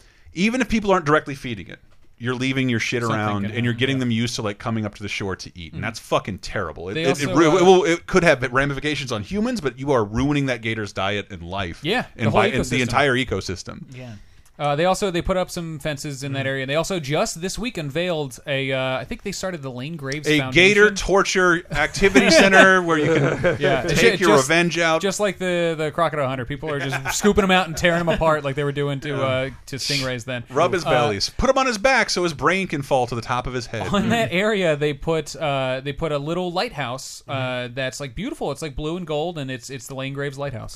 Speaker 1: even if people aren't directly feeding it, you're leaving your shit
Speaker 3: Something
Speaker 1: around
Speaker 3: can
Speaker 1: and you're getting them used to like coming up to the shore to eat, and that's fucking terrible. It,
Speaker 3: Mm-hmm. They
Speaker 1: it,
Speaker 3: also,
Speaker 1: it, ru-
Speaker 3: uh,
Speaker 1: it will- it could have ramifications on humans, but you are ruining that gator's diet and life.
Speaker 3: Yeah, the
Speaker 1: and,
Speaker 3: whole
Speaker 1: by, and the
Speaker 3: ecosystem.
Speaker 1: entire ecosystem.
Speaker 2: Yeah.
Speaker 3: Uh, they also they put up some fences in
Speaker 1: Mm-hmm.
Speaker 3: that area. And they also just this week unveiled a uh, I think they started the Lane Graves
Speaker 1: A
Speaker 3: Foundation.
Speaker 1: gator torture activity center where you can
Speaker 3: Yeah,
Speaker 1: take your
Speaker 3: Just-
Speaker 1: revenge out.
Speaker 3: Just like the the crocodile hunter, people are just scooping them out and tearing them apart like they were doing to uh, to stingrays then.
Speaker 1: Rub his
Speaker 3: Uh,
Speaker 1: bellies. Put him on his back so his brain can fall to the top of his head.
Speaker 3: on that area they put uh, they put a little lighthouse uh,
Speaker 1: Mm-hmm.
Speaker 3: that's like beautiful. It's like blue and gold, and it's it's the Lane Graves lighthouse.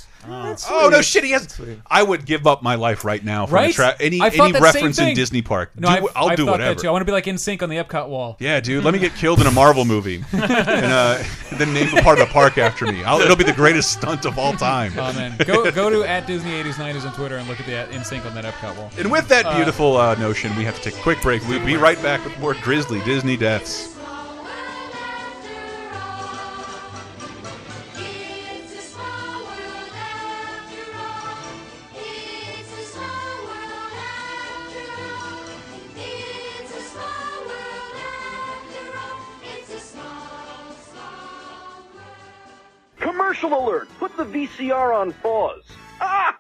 Speaker 1: Oh no, shit! He has. I would give up my life right now for
Speaker 3: Right?
Speaker 1: a tra- any
Speaker 3: I thought
Speaker 1: any
Speaker 3: that same
Speaker 1: reference in
Speaker 3: thing.
Speaker 1: Disney Park.
Speaker 3: No,
Speaker 1: do,
Speaker 3: I've-
Speaker 1: I'll
Speaker 3: I've
Speaker 1: do
Speaker 3: thought that
Speaker 1: whatever.
Speaker 3: too. I want to be like in sync on the Epcot wall.
Speaker 1: Yeah, dude. Let me get killed in a Marvel movie, and uh, then name a part of the park after me. I'll, it'll be the greatest stunt of all time.
Speaker 3: Oh man, go go to at Disney eighties nineties on Twitter and look at the uh, in sync on that Epcot wall.
Speaker 1: and with that beautiful uh, notion, we have to take a quick break. We'll be right back with more grisly Disney deaths.
Speaker 6: Commercial alert! Put the VCR on pause. Ah!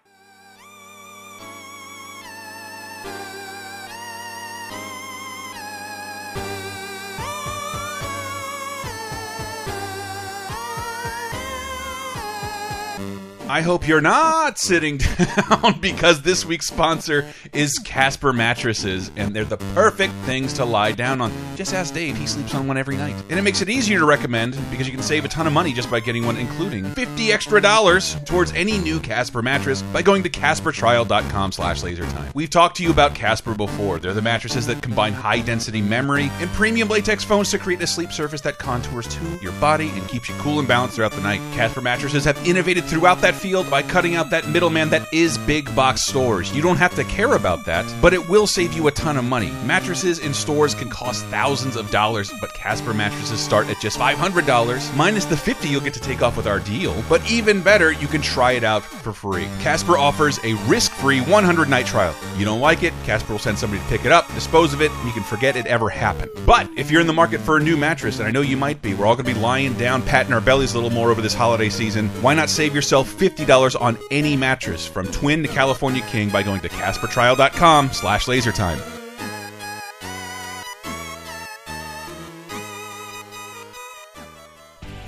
Speaker 1: I hope you're not sitting down because this week's sponsor is Casper Mattresses, and they're the perfect things to lie down on. Just ask Dave, he sleeps on one every night. And it makes it easier to recommend because you can save a ton of money just by getting one, including 50 extra dollars towards any new Casper mattress by going to CasperTrial.com slash lasertime. We've talked to you about Casper before. They're the mattresses that combine high density memory and premium latex foams to create a sleep surface that contours to your body and keeps you cool and balanced throughout the night. Casper mattresses have innovated throughout that field by cutting out that middleman that is big box stores. You don't have to care about that, but it will save you a ton of money. Mattresses in stores can cost thousands of dollars, but Casper mattresses start at just $500 minus the 50 you'll get to take off with our deal. But even better, you can try it out for free. Casper offers a risk-free 100-night trial. You don't like it, Casper will send somebody to pick it up, dispose of it, and you can forget it ever happened. But if you're in the market for a new mattress, and I know you might be, we're all going to be lying down, patting our bellies a little more over this holiday season. Why not save yourself $50 on any mattress from twin to California King by going to CasperTrial.com slash lasertime.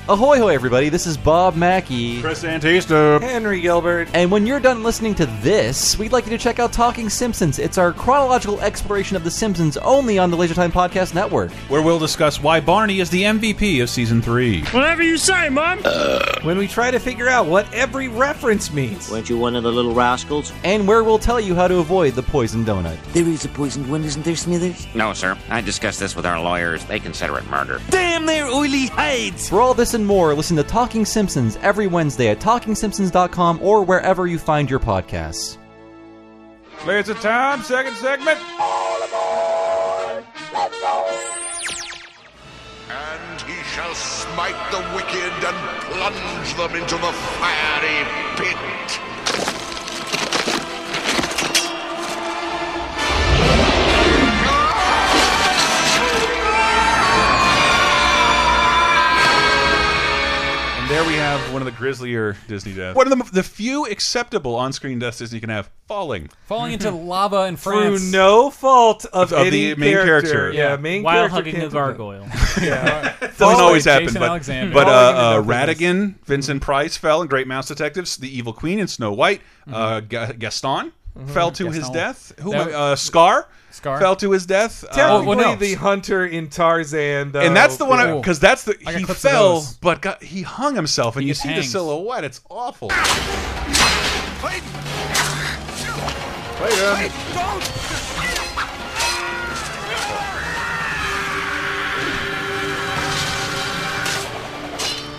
Speaker 7: Ahoy, hoy, everybody. This is Bob Mackey.
Speaker 1: Chris Antista.
Speaker 4: Henry Gilbert.
Speaker 7: And when you're done listening to this, we'd like you to check out Talking Simpsons. It's our chronological exploration of The Simpsons only on the Leisure Time Podcast Network.
Speaker 1: Where we'll discuss why Barney is the MVP of season three.
Speaker 8: Whatever you say, Mom.
Speaker 4: When we try to figure out what every reference means.
Speaker 9: Weren't you one of the little rascals?
Speaker 7: And where we'll tell you how to avoid the poison donut.
Speaker 9: There is a poisoned one, isn't there, Smithers?
Speaker 10: No, sir. I discussed this with our lawyers. They consider it murder.
Speaker 9: Damn their oily hides!
Speaker 7: For all this and more, listen to Talking Simpsons every Wednesday at TalkingSimpsons.com or wherever you find your podcasts.
Speaker 1: Clears the time, second segment.
Speaker 11: And he shall smite the wicked and plunge them into the fiery pit.
Speaker 1: And there we have one of the grislier Disney deaths. One of the, the few acceptable on-screen deaths Disney can have: falling.
Speaker 3: Falling into lava in
Speaker 4: Through
Speaker 3: France.
Speaker 4: no fault of,
Speaker 1: Of- of
Speaker 4: any
Speaker 1: the main character.
Speaker 4: Yeah,
Speaker 1: Yeah.
Speaker 4: main
Speaker 2: While
Speaker 4: character
Speaker 2: hugging
Speaker 4: can't
Speaker 2: the
Speaker 4: do that.
Speaker 2: gargoyle.
Speaker 1: Doesn't
Speaker 3: Falling,
Speaker 1: always happen,
Speaker 3: Jason
Speaker 1: but
Speaker 3: Alexander. Oh,
Speaker 1: but uh,
Speaker 3: Falling into
Speaker 1: uh,
Speaker 3: the dark abyss.
Speaker 1: Radigan, Vincent Price fell in Great Mouse Detectives, The Evil Queen in Snow White, uh, Ga- Gaston fell to his
Speaker 3: Mm-hmm. Gaston.
Speaker 1: death. Who
Speaker 3: That-
Speaker 1: uh, Scar
Speaker 3: Scar.
Speaker 1: fell to his death.
Speaker 4: Technically,
Speaker 1: Uh,
Speaker 3: Oh, well, no.
Speaker 4: the hunter in Tarzan, though,
Speaker 1: and that's the one
Speaker 3: Cool.
Speaker 1: because that's the
Speaker 3: I got
Speaker 1: he
Speaker 3: clips of
Speaker 1: fell,
Speaker 3: those.
Speaker 1: but got, he hung himself, and you
Speaker 3: just
Speaker 1: see the
Speaker 3: hangs.
Speaker 1: silhouette. It's awful.
Speaker 11: Wait,
Speaker 1: Wait,
Speaker 11: don't!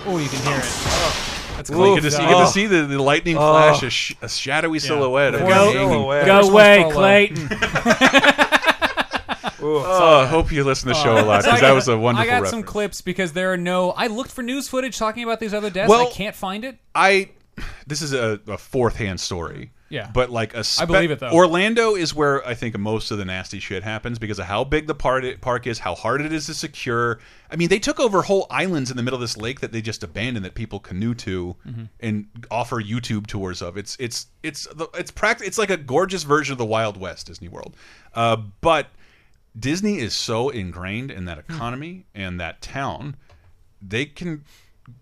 Speaker 3: Oh, you can hear it. That's
Speaker 1: well, you
Speaker 3: cool.
Speaker 1: get to see, you get
Speaker 3: Oh.
Speaker 1: to see the, the lightning flash, a, sh a shadowy silhouette. of
Speaker 3: Go-
Speaker 1: him hanging.
Speaker 4: silhouette.
Speaker 2: Go
Speaker 3: First one's
Speaker 2: away,
Speaker 3: Frollo.
Speaker 2: Clayton.
Speaker 1: Oh, I hope you listen to the show a lot
Speaker 3: So I
Speaker 1: because
Speaker 3: got-
Speaker 1: that was a wonderful
Speaker 3: Oh. I got
Speaker 1: reference.
Speaker 3: some clips because there are no. I looked for news footage talking about these other deaths.
Speaker 1: Well-
Speaker 3: I can't find it.
Speaker 1: I this is a, a fourth hand story.
Speaker 3: Yeah.
Speaker 1: But like a spe-
Speaker 3: I believe it, though.
Speaker 1: Orlando is where I think most of the nasty shit happens because of how big the part park is, how hard it is to secure. I mean, they took over whole islands in the middle of this lake that they just abandoned that people canoe to
Speaker 3: Mm-hmm.
Speaker 1: and offer YouTube tours of. It's it's it's the, it's practic it's like a gorgeous version of the Wild West Disney World. Uh, but Disney is so ingrained in that economy and that town, they can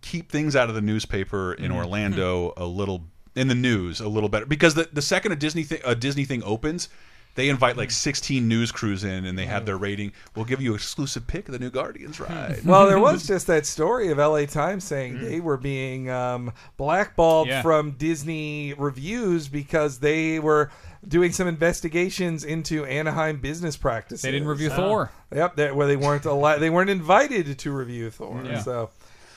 Speaker 1: keep things out of the newspaper in Orlando a little in the news a little better because the the second a Disney thing a Disney thing opens, they invite like 16 news crews in and they have their rating. We'll give you exclusive pick of the new Guardians ride.
Speaker 4: well, there was just that story of LA Times saying
Speaker 1: Mm.
Speaker 4: they were being um, blackballed
Speaker 3: Yeah.
Speaker 4: from Disney reviews because they were doing some investigations into Anaheim business practices.
Speaker 3: They didn't review Thor.
Speaker 4: Yep, that, where they weren't allowed, they weren't invited to review Thor.
Speaker 3: Yeah.
Speaker 4: So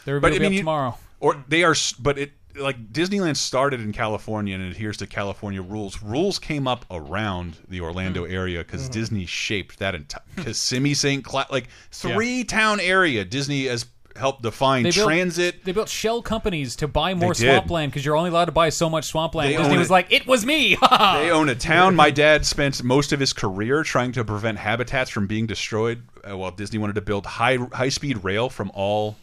Speaker 3: Their
Speaker 1: But,
Speaker 3: review will
Speaker 1: I mean,
Speaker 3: be up
Speaker 1: you-
Speaker 3: tomorrow.
Speaker 1: or they are s- but it like Disneyland started in California and adheres to California rules. Rules came up around the
Speaker 3: Mm.
Speaker 1: Orlando area because Disney shaped that entire Kissimmee, St. Cloud, like three town area. Disney has helped define
Speaker 3: They built-
Speaker 1: transit.
Speaker 3: They built shell companies to buy more
Speaker 1: did.
Speaker 3: swampland because you're only allowed to buy so much swampland.
Speaker 1: They
Speaker 3: Disney
Speaker 1: own
Speaker 3: was
Speaker 1: it.
Speaker 3: like, "It was me."
Speaker 1: They own a town. My dad spent most of his career trying to prevent habitats from being destroyed. Uh, while Disney wanted to build high high speed rail from all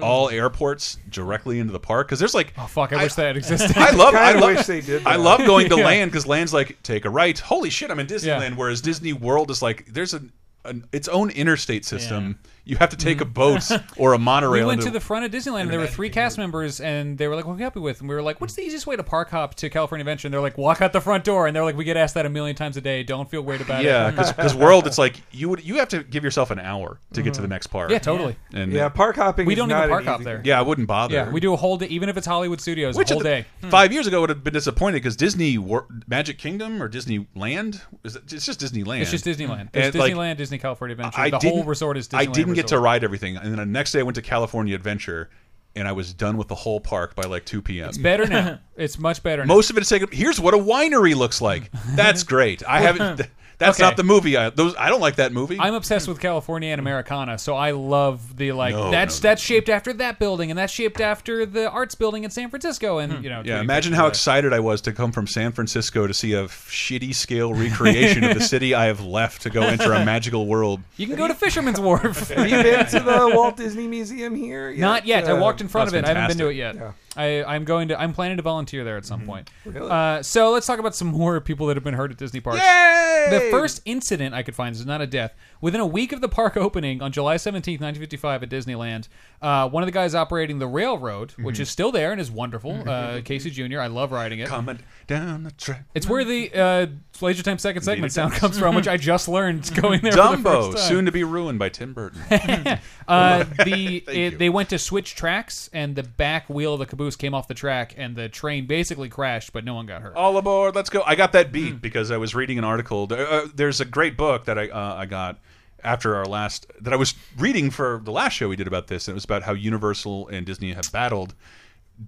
Speaker 1: all airports directly into the park because there's like
Speaker 3: Mm. oh fuck! I, wish that existed.
Speaker 1: I love I
Speaker 4: Kinda
Speaker 1: love,
Speaker 4: wish they did
Speaker 1: I
Speaker 4: that.
Speaker 1: love going to land because land's like take a right. Holy shit, I'm in Disneyland.
Speaker 3: Yeah.
Speaker 1: Whereas Disney World is like there's an, an its own interstate system. You have to take
Speaker 3: Mm-hmm.
Speaker 1: a boat or a monorail.
Speaker 3: we went
Speaker 1: into-
Speaker 3: to the front of Disneyland and there were three cast members and they were like, What are you happy with? And we were like, What's the easiest way to park hop to California Adventure? And they're like, Walk out the front door and they're like, We get asked that a million times a day. Don't feel weird about
Speaker 1: yeah,
Speaker 3: it.
Speaker 1: because World, it's like you would you have to give yourself an hour to get to the next park.
Speaker 3: Mm-hmm. Yeah, totally.
Speaker 1: And
Speaker 4: yeah, park hopping.
Speaker 3: We
Speaker 4: is
Speaker 3: don't
Speaker 4: not
Speaker 3: even
Speaker 4: an
Speaker 3: park hop
Speaker 4: easy-
Speaker 3: there.
Speaker 1: yeah, I wouldn't bother.
Speaker 3: Yeah, we do a whole day, even if it's Hollywood Studios,
Speaker 1: Which
Speaker 3: a whole
Speaker 1: at the-
Speaker 3: day. Hmm.
Speaker 1: Five years ago would have been disappointing because Disney Wor- Magic Kingdom or Disneyland is it, it's just Disneyland.
Speaker 3: It's just Disneyland.
Speaker 1: And
Speaker 3: There's
Speaker 1: like,
Speaker 3: Disneyland, Disney California Adventure.
Speaker 1: I
Speaker 3: the
Speaker 1: didn't,
Speaker 3: whole resort is Disneyland.
Speaker 1: I didn't get to
Speaker 3: resort.
Speaker 1: ride everything, and then the next day I went to California Adventure, and I was done with the whole park by like two p.m.
Speaker 3: It's better now. it's much better now.
Speaker 1: Most of it is taken. Here's what a winery looks like. That's great. I haven't. th- That's
Speaker 3: Okay.
Speaker 1: not the movie. I, those I don't like that movie.
Speaker 3: I'm obsessed with California and Americana, so I love the like
Speaker 1: No,
Speaker 3: that's
Speaker 1: no, no.
Speaker 3: that's shaped after that building and that's shaped after the arts building in San Francisco and you know
Speaker 1: Hmm. yeah,
Speaker 3: 20
Speaker 1: imagine
Speaker 3: pictures
Speaker 1: how
Speaker 3: of that.
Speaker 1: excited I was to come from San Francisco to see a shitty scale recreation of the city I have left to go enter a magical world.
Speaker 3: You can go to Fisherman's Wharf.
Speaker 4: Have you been to the Walt Disney Museum here? yet?
Speaker 3: Not yet. I
Speaker 4: Uh,
Speaker 3: walked in front of
Speaker 1: that's
Speaker 3: it. I haven't been to it yet.
Speaker 4: fantastic.
Speaker 3: I, I'm going to. I'm planning to volunteer there at some point. Uh, so let's talk about some more people that have been hurt at Disney parks.
Speaker 4: Uh,
Speaker 3: The first incident I could find this is not a death. Within a week of the park opening on July 17, 1955, at Disneyland, uh, one of the guys operating the railroad, which is still there and is wonderful, uh, Casey Jr. I love riding it.
Speaker 1: Coming down the track.
Speaker 3: It's where the uh, Leisure Time Second Segment
Speaker 1: it
Speaker 3: sound comes from, which I just learned going there. for the first
Speaker 1: Dumbo,
Speaker 3: time.
Speaker 1: soon to be ruined by Tim Burton.
Speaker 3: Uh, the
Speaker 1: you.
Speaker 3: it, they went to switch tracks, and the back wheel of the caboose came off the track, and the train basically crashed, but no one got hurt.
Speaker 1: all aboard let's go i got that
Speaker 3: Hmm.
Speaker 1: beat because i was reading an article There- uh, there's a great book that i uh, i got after our last that i was reading for the last show we did about this and it was about how universal and disney have battled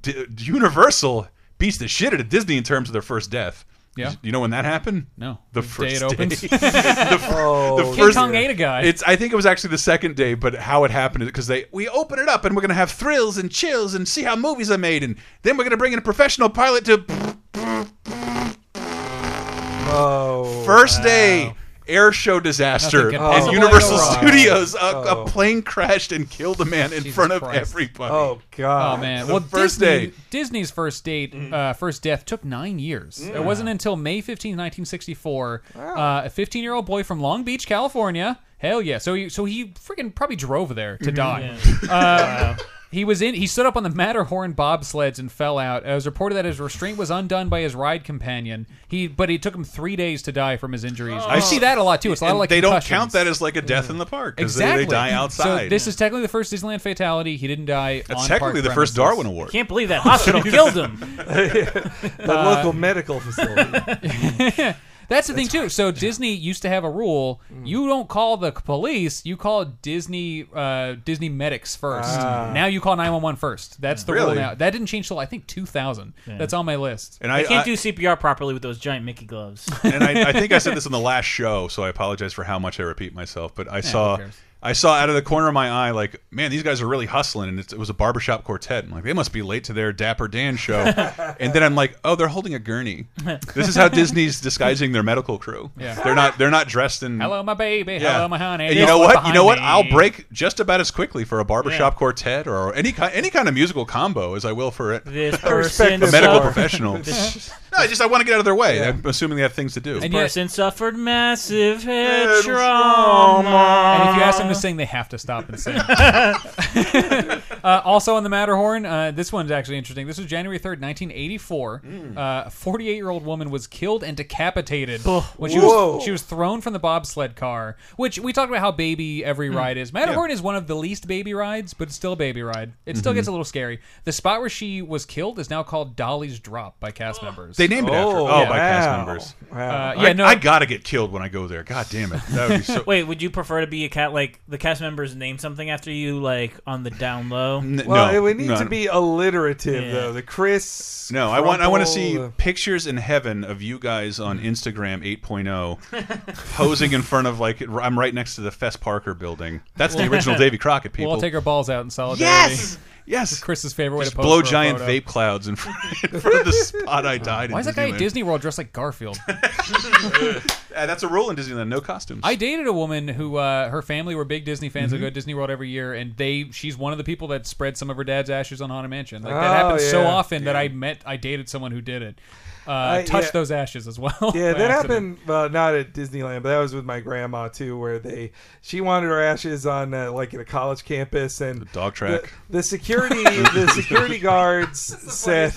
Speaker 1: D universal beats the shit out of disney in terms of their first death
Speaker 3: Yeah.
Speaker 1: you know when that happened
Speaker 3: No.
Speaker 1: the
Speaker 3: The day
Speaker 1: first
Speaker 3: it opens.
Speaker 1: day. the, fir-
Speaker 4: Oh,
Speaker 1: the
Speaker 3: King
Speaker 1: first
Speaker 3: Kong ate a guy.
Speaker 1: it's i think it was actually the second day but how it happened is because they we open it up and we're gonna have thrills and chills and see how movies are made and then we're gonna bring in a professional pilot to
Speaker 4: oh,
Speaker 1: First day. air show
Speaker 8: Nothing
Speaker 1: disaster
Speaker 8: can
Speaker 1: at
Speaker 8: possibly go
Speaker 1: Universal
Speaker 8: wrong.
Speaker 1: Studios. A,
Speaker 8: Oh.
Speaker 1: a plane crashed and killed a man in front of everybody.
Speaker 3: Oh man!
Speaker 1: The
Speaker 3: well,
Speaker 1: first
Speaker 3: Disney,
Speaker 1: day.
Speaker 3: Disney's first date, uh, first death took nine years.
Speaker 1: Mm.
Speaker 3: It wasn't until May 15, 1964, uh, a 15 year old boy from Long Beach, California. Hell yeah! So he, so he freaking probably drove there to
Speaker 8: Mhm.
Speaker 1: Mm-hmm.
Speaker 3: die.
Speaker 8: Yeah.
Speaker 3: Uh, He was in. He stood up on the Matterhorn bobsleds and fell out. It was reported that his restraint was undone by his ride companion. He, but it took him three days to die from his injuries. I see that a lot too. It's a
Speaker 1: Oh.
Speaker 3: lot
Speaker 1: And
Speaker 3: of like
Speaker 1: they don't
Speaker 3: concussions.
Speaker 1: count that as like a death in the park because
Speaker 3: Exactly.
Speaker 1: they, die outside.
Speaker 3: So this is technically the first Disneyland fatality. He didn't die.
Speaker 1: That's
Speaker 3: on
Speaker 1: technically
Speaker 3: park
Speaker 1: the first
Speaker 3: premises.
Speaker 1: Darwin Award.
Speaker 2: Can't believe that hospital killed him. The
Speaker 1: Uh,
Speaker 4: local medical facility.
Speaker 3: That's the thing too. So Disney used to have a rule:
Speaker 1: Mm-hmm.
Speaker 3: you don't call the police, you call Disney uh, Disney medics first.
Speaker 1: Ah.
Speaker 3: Now you call nine one one first. That's the rule
Speaker 1: Really?
Speaker 3: now. That didn't change till I think two thousand.
Speaker 2: Yeah.
Speaker 3: That's on my list.
Speaker 1: And
Speaker 2: I,
Speaker 1: I-
Speaker 2: can't
Speaker 1: I-
Speaker 2: do CPR properly with those giant Mickey gloves.
Speaker 1: and I, I think I said this on the last show, so I apologize for how much I repeat myself. But I saw, I saw out of the corner of my eye, like, man, these guys are really hustling, and it's, it was a barbershop quartet. I'm like, they must be late to their Dapper Dan show. and then I'm like, oh, they're holding a gurney. This is how Disney's disguising their medical crew.
Speaker 3: Yeah.
Speaker 1: they're not, they're not dressed in.
Speaker 3: Hello, my baby.
Speaker 1: Yeah.
Speaker 3: Hello, my honey.
Speaker 1: And you
Speaker 3: Guess
Speaker 1: know
Speaker 3: what's
Speaker 1: what? You know what?
Speaker 3: behind
Speaker 1: I'll
Speaker 3: me?
Speaker 1: break just about as quickly for a barbershop
Speaker 3: Yeah.
Speaker 1: quartet or any kind any kind of musical combo as I will for it.
Speaker 2: This
Speaker 1: a
Speaker 2: person
Speaker 1: medical
Speaker 2: sucked.
Speaker 1: professional. no,
Speaker 2: This-
Speaker 1: I just I want to get out of their way. I'm assuming they have things to do.
Speaker 2: This person suffered massive head
Speaker 8: Head
Speaker 2: trauma.
Speaker 3: And if you ask them to sing, they have to stop and sing. uh, also on the Matterhorn, uh, this one's actually interesting. This was January 3rd, 1984.
Speaker 1: Mm.
Speaker 3: Uh, A 48 year old woman was killed and decapitated when she
Speaker 8: Whoa.
Speaker 3: was, she was thrown from the bobsled car, which we talked about how baby every
Speaker 1: Mm.
Speaker 3: ride is. Matterhorn is one of the least baby rides, but it's still a baby ride. It still
Speaker 1: Mhm.
Speaker 3: gets a little scary. The spot where she was killed is now called Dolly's Drop by cast members.
Speaker 1: They named it after. Oh, by cast members.
Speaker 3: Uh,
Speaker 1: I,
Speaker 3: yeah, no.
Speaker 1: I gotta get killed when I go there. God damn it. That would be so.
Speaker 2: Wait, would you prefer to be a cat like the cast members name something after you, like on the down low?
Speaker 4: well, it would need to be alliterative though. The Chris.
Speaker 1: No, I want I want to see
Speaker 4: Crumple,
Speaker 1: pictures in heaven of you guys on
Speaker 3: Hmm.
Speaker 1: Instagram 8.0 posing in front of like I'm right next to the Fess Parker building. That's the
Speaker 3: We'll-
Speaker 1: original Davy Crockett people.
Speaker 3: We'll all take our balls out in solidarity.
Speaker 1: Yes! Yes.
Speaker 3: Chris's favorite way
Speaker 1: Just
Speaker 3: to pose
Speaker 1: blow
Speaker 3: for a
Speaker 1: giant
Speaker 3: photo.
Speaker 1: vape clouds in front, in front of the spot I died. in
Speaker 3: Why is that guy
Speaker 1: Disneyland.
Speaker 3: at Disney World dressed like Garfield?
Speaker 1: Uh, that's a rule in Disneyland. No costumes.
Speaker 3: I dated a woman who uh, her family were big Disney fans.
Speaker 1: Mm-hmm.
Speaker 3: They go to Disney World every year, and they she's one of the people that spread some of her dad's ashes on Haunted Mansion. Like that
Speaker 4: Oh,
Speaker 3: happens so
Speaker 4: yeah.
Speaker 3: often that I met I dated someone who did it. Uh,
Speaker 4: Uh,
Speaker 3: touched
Speaker 4: yeah.
Speaker 3: those ashes as well.
Speaker 4: Yeah,
Speaker 3: by accident.
Speaker 4: that happened. Well, not at Disneyland, but that was with my grandma too, where they she wanted her ashes on uh, like at a college campus and
Speaker 1: dog track.
Speaker 4: The, the security, the security guards said.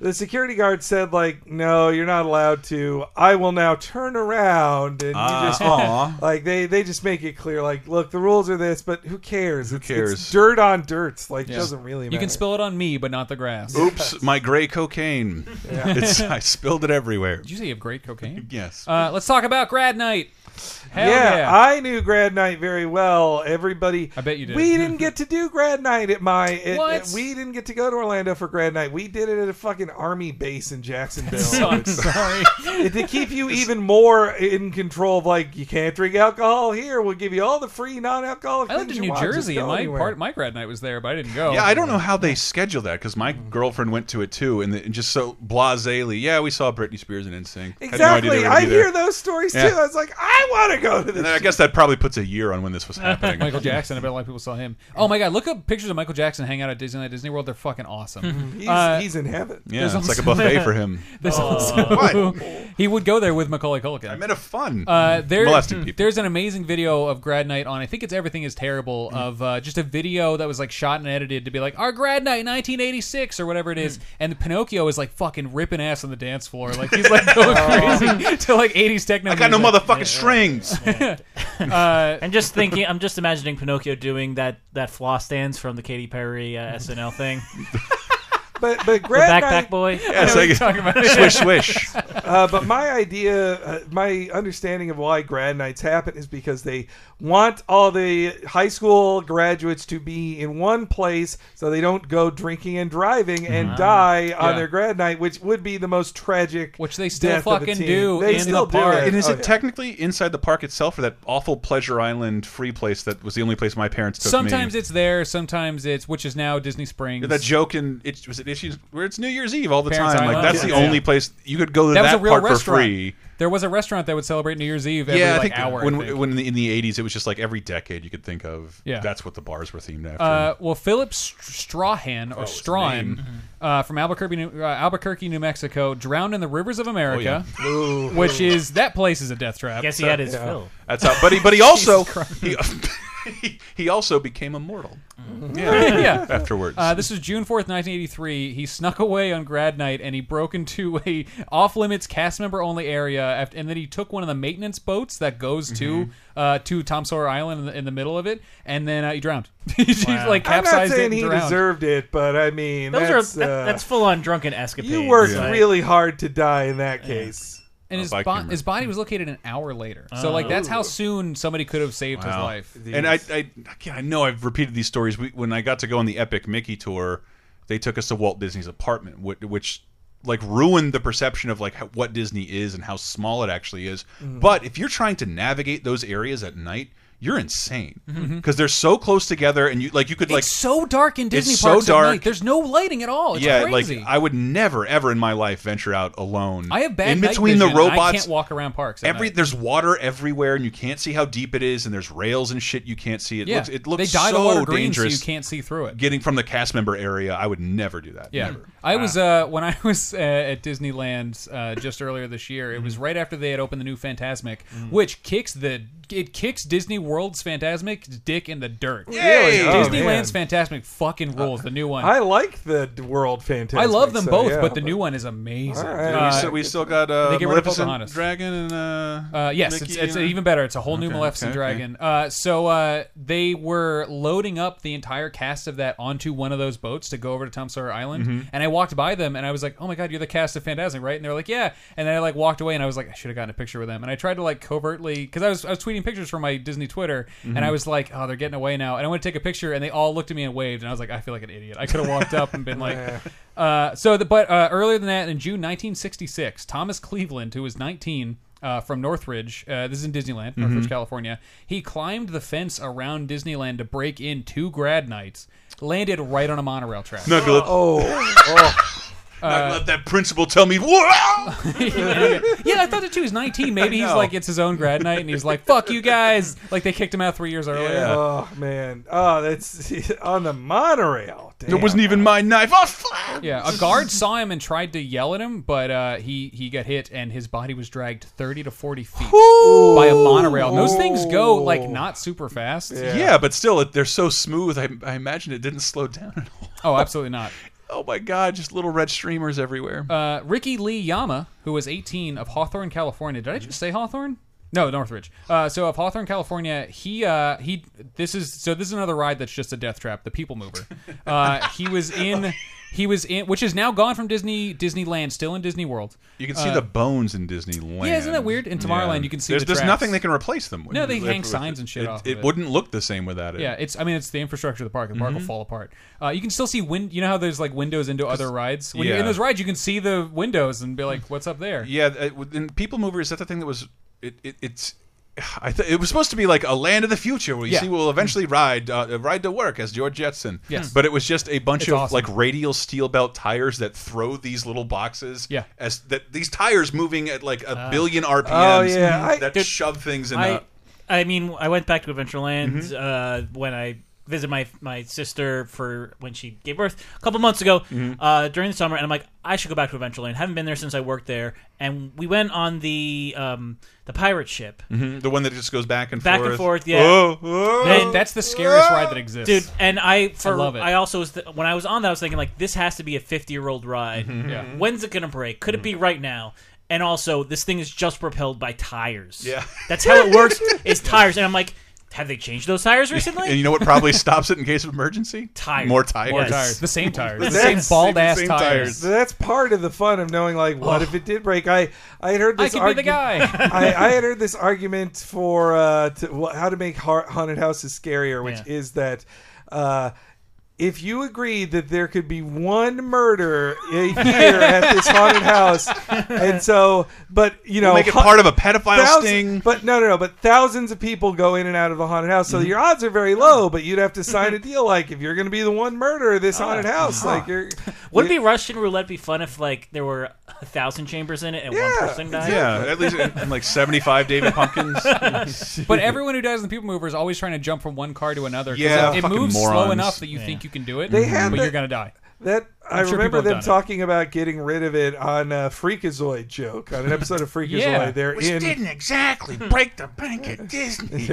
Speaker 4: The security guard said, "Like, no, you're not allowed to. I will now turn around and
Speaker 1: Ah,
Speaker 4: you just
Speaker 1: aw.
Speaker 4: like they they just make it clear, like, look, the rules are this, but who cares? Who
Speaker 1: cares?
Speaker 4: dirt on dirt. Like, it
Speaker 3: Yeah.
Speaker 4: doesn't really matter.
Speaker 3: You can spill it on me, but not the grass.
Speaker 1: Oops, my gray cocaine.
Speaker 3: Yeah.
Speaker 1: It's, I spilled it everywhere.
Speaker 3: Did you say you have great cocaine?
Speaker 1: Yes.
Speaker 3: Uh, let's talk about grad night. Hell
Speaker 4: yeah,
Speaker 3: yeah,
Speaker 4: I knew grad night very well. Everybody, I
Speaker 3: bet you did.
Speaker 4: We didn't get to do grad night at my. At,
Speaker 3: What?
Speaker 4: at- we didn't get to go to Orlando for grad night. We did it at a fucking army base in Jacksonville.
Speaker 3: So I'm sorry.
Speaker 4: It- to keep you even more in control of like you can't drink alcohol here. We'll give you all the free non-alcoholic.
Speaker 3: I lived
Speaker 4: things
Speaker 3: in
Speaker 4: you
Speaker 3: New
Speaker 4: want. Just
Speaker 3: Jersey,
Speaker 4: go
Speaker 3: and my
Speaker 4: anywhere.
Speaker 3: part, my grad night was there, but I didn't go.
Speaker 4: Oh,
Speaker 1: Yeah, I don't know how they schedule that because
Speaker 4: Mm.
Speaker 1: my girlfriend went to it too, and, the, and just so blasely. Yeah, we saw Britney Spears and NSYNC. Had no idea
Speaker 4: Exactly.
Speaker 1: they were gonna
Speaker 4: I
Speaker 1: be there.
Speaker 4: hear those stories
Speaker 1: Yeah.
Speaker 4: too. I was like, I want to go to this.
Speaker 1: And I guess that probably puts a year on when this was happening.
Speaker 3: Michael Jackson. I bet a lot of people saw him. Oh my God! Look up pictures of Michael Jackson hanging out at Disneyland, Disney World. They're fucking awesome.
Speaker 4: He's- he's in heaven.
Speaker 1: Yeah,
Speaker 3: there's
Speaker 1: it's like a buffet for him.
Speaker 3: There's
Speaker 1: Oh.
Speaker 3: also, he would go there with Macaulay Culkin. I
Speaker 1: meant a fun.
Speaker 3: Uh, there,
Speaker 1: Molesting people.
Speaker 3: There's an amazing video of grad night on. I think it's everything is terrible.
Speaker 1: Hmm.
Speaker 3: Of uh, just a video that was like shot and edited to be like our grad night 1986 or whatever it is.
Speaker 1: Hmm.
Speaker 3: And Pinocchio is like fucking ripping ass on the dance floor. Like he's like going crazy to like 80s techno.
Speaker 1: Oh. I got no
Speaker 3: music. Uh,
Speaker 1: motherfucking strings.
Speaker 2: I'm just thinking. I'm just imagining Pinocchio doing that that floss dance from the Katy Perry uh, SNL thing.
Speaker 4: but but grad
Speaker 2: backpack
Speaker 4: night-
Speaker 2: boy? Yeah, it's like- What are we talking about? swish, swish.
Speaker 4: Uh, but my idea, uh, my understanding of why grad nights happen is because they want all the high school graduates to be in one place so they don't go drinking and driving and
Speaker 3: Mhm.
Speaker 4: die on
Speaker 3: Yeah.
Speaker 4: their grad night, which would be the most tragic.
Speaker 3: Which they still
Speaker 4: death of a
Speaker 3: fucking
Speaker 4: teen.
Speaker 3: do
Speaker 4: They
Speaker 3: in
Speaker 4: still
Speaker 3: the
Speaker 4: do
Speaker 3: park.
Speaker 1: And is
Speaker 4: Oh,
Speaker 1: it
Speaker 4: yeah.
Speaker 1: technically inside the park itself, or that awful Pleasure Island free place that was the only place my parents took
Speaker 3: Sometimes
Speaker 1: me?
Speaker 3: it's there. Sometimes it's which is now Disney Springs.
Speaker 1: that joke in it was it issues where it's New Year's Eve all the
Speaker 3: Parents
Speaker 1: time. Like
Speaker 3: Island.
Speaker 1: that's the
Speaker 3: Yeah.
Speaker 1: only place you could go to
Speaker 3: That was
Speaker 1: that
Speaker 3: a real
Speaker 1: part for
Speaker 3: restaurant.
Speaker 1: free.
Speaker 3: There was a restaurant that would celebrate New Year's Eve every
Speaker 1: yeah,
Speaker 3: like
Speaker 1: I think
Speaker 3: hour.
Speaker 1: when
Speaker 3: I think.
Speaker 1: when in the, in the 80s it was just like every decade you could think of.
Speaker 3: Yeah.
Speaker 1: that's what the bars were themed after.
Speaker 3: Uh, well, Philip Str- Strahan or
Speaker 1: Oh, his
Speaker 3: Strahan
Speaker 1: name.
Speaker 3: uh, from Albuquerque, New, uh, Albuquerque, New Mexico, drowned in the rivers of America,
Speaker 1: Oh, yeah. Ooh.
Speaker 3: which is that place is a death trap.
Speaker 2: Guess he had his fill.
Speaker 1: That's how. But he but he also
Speaker 3: Jesus Christ.
Speaker 1: he, he also became immortal.
Speaker 3: yeah. yeah.
Speaker 1: Afterwards.
Speaker 3: Uh, this was June 4th, 1983. He snuck away on grad night and he broke into a off limits cast member only area. After, and then he took one of the maintenance boats that goes
Speaker 1: Mm-hmm.
Speaker 3: to uh, to Tom Sawyer Island in the, in the middle of it. And then uh, he drowned. He's like
Speaker 4: I'm
Speaker 3: capsized
Speaker 4: not saying
Speaker 3: it and
Speaker 4: he
Speaker 3: drowned.
Speaker 4: deserved it, but I mean,
Speaker 2: Those
Speaker 4: that's,
Speaker 2: are that,
Speaker 4: uh,
Speaker 2: that's full on drunken escapades.
Speaker 4: you worked
Speaker 2: like-
Speaker 4: really hard to die in that case.
Speaker 3: and his,
Speaker 1: Oh, bike
Speaker 3: bo-
Speaker 1: number.
Speaker 3: his body was located an hour later. So like that's how soon somebody could have saved his
Speaker 1: Wow.
Speaker 3: life.
Speaker 1: And I, I, again, I know I've repeated these stories. We, when I got to go on the Epic Mickey tour, they took us to Walt Disney's apartment, which, which like ruined the perception of like how, what Disney is and how small it actually is.
Speaker 3: Mm-hmm.
Speaker 1: But if you're trying to navigate those areas at night, you're insane because
Speaker 3: Mm-hmm.
Speaker 1: they're so close together, and you like you could like
Speaker 3: it's so dark in Disney
Speaker 1: so
Speaker 3: parks
Speaker 1: dark.
Speaker 3: at night. There's no lighting at all. It's
Speaker 1: yeah,
Speaker 3: crazy.
Speaker 1: like I would never ever in my life venture out alone.
Speaker 3: I have bad
Speaker 1: in
Speaker 3: night
Speaker 1: between the
Speaker 3: vision, and I
Speaker 1: robots.
Speaker 3: can't walk around parks. at
Speaker 1: Every
Speaker 3: night.
Speaker 1: there's water everywhere, and you can't see how deep it is, and there's rails and shit you can't see. It
Speaker 3: yeah,
Speaker 1: looks it looks
Speaker 3: they dye
Speaker 1: so
Speaker 3: the water green
Speaker 1: dangerous.
Speaker 3: so you can't see through it.
Speaker 1: Getting from the cast member area, I would never do that.
Speaker 3: Yeah,
Speaker 1: never.
Speaker 3: I was uh, when I was uh, at Disneyland uh, just earlier this year. It was
Speaker 1: Mm-hmm.
Speaker 3: right after they had opened the new Fantasmic, which kicks the it kicks Disney World's Fantasmic dick in the dirt.
Speaker 1: Really?
Speaker 4: Yay! Oh,
Speaker 3: Disneyland's Fantasmic fucking rules. the new one,
Speaker 4: I
Speaker 3: I,
Speaker 4: like the d- world fantastic.
Speaker 3: love them
Speaker 4: so,
Speaker 3: both,
Speaker 4: yeah.
Speaker 3: but the new one is amazing.
Speaker 4: All right.
Speaker 1: We, still, we still got
Speaker 3: They
Speaker 1: uh,
Speaker 3: get rid of
Speaker 1: Maleficent,
Speaker 3: Pocahontas.
Speaker 1: Dragon, and uh,
Speaker 3: Uh, yes,
Speaker 1: Mickey
Speaker 3: it's, it's
Speaker 1: and-
Speaker 3: even better. It's a whole new
Speaker 1: Okay,
Speaker 3: Maleficent
Speaker 1: okay, okay.
Speaker 3: dragon. Uh, so uh, they were loading up the entire cast of that onto one of those boats to go over to Tom Sawyer Island.
Speaker 1: Mm-hmm.
Speaker 3: And I walked by them and I was like, "Oh my god, you're the cast of Fantasmic, right?" And they were like, "Yeah." And then I like walked away and I was like, "I should have gotten a picture with them." And I tried to like covertly because I was I was tweeting pictures from my Disney Twitter
Speaker 1: Mm-hmm.
Speaker 3: and I was like, "Oh, they're getting away now." And I went to take a picture and they all looked at me and waved and I was like, "I feel like an idiot. I could have walked up and been like." Uh, so, the, but uh, earlier than that, in June 1966, Thomas Cleveland, who was 19 uh, from Northridge, uh, this is in Disneyland,
Speaker 1: Mm-hmm.
Speaker 3: Northridge, California, he climbed the fence around Disneyland to break in two grad nights, landed right on a monorail track.
Speaker 1: Not gonna let,
Speaker 4: Oh,
Speaker 1: not
Speaker 3: uh,
Speaker 1: gonna let that principal tell me. "Wow!"
Speaker 3: yeah, I thought that too. He's 19. Maybe he's
Speaker 1: know.
Speaker 3: like, it's his own grad night, and he's like, fuck you guys. Like, they kicked him out three years earlier.
Speaker 1: Yeah.
Speaker 4: oh man, oh that's on the monorail. Damn.
Speaker 1: It wasn't even my knife. Oh, fuck!
Speaker 3: Yeah, a guard saw him and tried to yell at him, but uh, he he got hit and his body was dragged thirty to forty feet by a monorail. And Those things go like not super fast.
Speaker 1: Yeah. but still, it- they're so smooth. I, I imagine it didn't slow down at all.
Speaker 3: Oh, absolutely not.
Speaker 1: Oh my god, just little red streamers everywhere.
Speaker 3: Uh, Ricky Lee Yama, who was 18 of Hawthorne, California. Did I just say Hawthorne? No, Northridge. Uh, so of Hawthorne, California, he uh, he. This is so. This is another ride that's just a death trap. The People Mover. Uh, he was in. He was in, which is now gone from Disney Disneyland, still in Disney World.
Speaker 1: you can see the bones in Disneyland.
Speaker 3: uh, yeah, isn't that weird? In Tomorrowland, you can see
Speaker 1: There's,
Speaker 3: the
Speaker 1: there's
Speaker 3: tracks.
Speaker 1: nothing they can replace them. with.
Speaker 3: No, they
Speaker 1: If-
Speaker 3: hang
Speaker 1: if-
Speaker 3: signs and shit
Speaker 1: it,
Speaker 3: off of
Speaker 1: It,
Speaker 3: it.
Speaker 1: wouldn't look the same without it.
Speaker 3: Yeah, it's. I mean, it's the infrastructure of the park. The
Speaker 1: Mm-hmm.
Speaker 3: park will fall apart. Uh, you can still see wind. You know how there's like windows into other rides. When you're in
Speaker 1: yeah.
Speaker 3: those rides, you can see the windows and be like, "What's up there?"
Speaker 1: Yeah, it, would- and People Mover is that the thing that was it, it it's. I th it was supposed to be like a land of the future where you
Speaker 3: Yeah. Mm.
Speaker 1: see we'll eventually ride uh, ride to work as George Jetson.
Speaker 3: Yes.
Speaker 1: but it was just a bunch
Speaker 3: It's
Speaker 1: of
Speaker 3: awesome.
Speaker 1: like radial steel belt tires that throw these little boxes.
Speaker 3: Yeah. Uh.
Speaker 1: as that these tires moving at like a billion RPMs.
Speaker 4: Oh, yeah, I-
Speaker 1: that
Speaker 2: Dude,
Speaker 1: shove things in.
Speaker 2: I,
Speaker 1: the,
Speaker 2: I mean, I went back to Adventureland
Speaker 4: Mm-hmm.
Speaker 2: uh, when I visited my my sister for when she gave birth a couple months ago
Speaker 4: Mm-hmm.
Speaker 2: uh, during the summer, and I'm like, I should go back to Adventureland. Haven't been there since I worked there, and we went on the um, the pirate ship
Speaker 1: the one that just goes back and
Speaker 2: back
Speaker 1: forth.
Speaker 2: and forth. Yeah,
Speaker 1: Oh, oh.
Speaker 2: And-
Speaker 3: That's the scariest ride that exists,
Speaker 2: dude. And I for I,
Speaker 3: love it.
Speaker 2: also was th- when I was on that, I was thinking like, this has to be a 50 year old ride.
Speaker 3: Mm-hmm. Yeah.
Speaker 1: Mm-hmm.
Speaker 2: When's it gonna break? Could it be right now? And also, this thing is just propelled by tires.
Speaker 1: Yeah.
Speaker 2: that's how it works. Is tires, and I'm like. Have they changed those tires recently?
Speaker 1: And you know what probably stops it in case of emergency?
Speaker 2: Tires.
Speaker 1: More tires.
Speaker 3: More
Speaker 2: Yes.
Speaker 3: tires, the same tires, the
Speaker 4: That's-
Speaker 3: same bald ass
Speaker 1: same
Speaker 3: tires.
Speaker 1: tires.
Speaker 4: So that's part of the fun of knowing, like, what if it did break? I I had heard
Speaker 3: I
Speaker 4: this.
Speaker 3: could be the
Speaker 4: argu-
Speaker 3: guy.
Speaker 4: I, I had heard this argument for uh, to, wh- how to make har- haunted houses scarier, which
Speaker 2: Yeah.
Speaker 4: is that uh, if you agreed that there could be one murder a year at this haunted house, and so, but you know,
Speaker 1: We'll make it
Speaker 4: hun-
Speaker 1: part of a pedophile
Speaker 4: thousands-
Speaker 1: sting.
Speaker 4: But no, no, no. But thousands of people go in and out of a haunted house, so
Speaker 8: Mm-hmm.
Speaker 4: your odds are very low. But you'd have to sign a deal like if you're going to be the one murderer of this
Speaker 8: Ah.
Speaker 4: haunted house, like you're.
Speaker 2: Wouldn't be Russian roulette be fun if like there were a thousand chambers in it and one person died?
Speaker 1: Yeah, at least in, in like 75 David Pumpkins.
Speaker 3: But everyone who dies in the People Mover is always trying to jump from one car to another. 'cause
Speaker 1: Yeah,
Speaker 3: it- it
Speaker 1: fucking
Speaker 3: moves slow
Speaker 1: morons.
Speaker 3: enough that you think you can do it,
Speaker 4: They had
Speaker 3: but
Speaker 4: the-
Speaker 3: you're gonna die.
Speaker 4: That i
Speaker 3: I'm sure people
Speaker 4: remember
Speaker 3: have
Speaker 4: them
Speaker 3: done it.
Speaker 4: talking about getting rid of it on a Freakazoid joke on an episode of Freakazoid.
Speaker 3: Yeah.
Speaker 4: They're in
Speaker 1: exactly break the bank at Disney.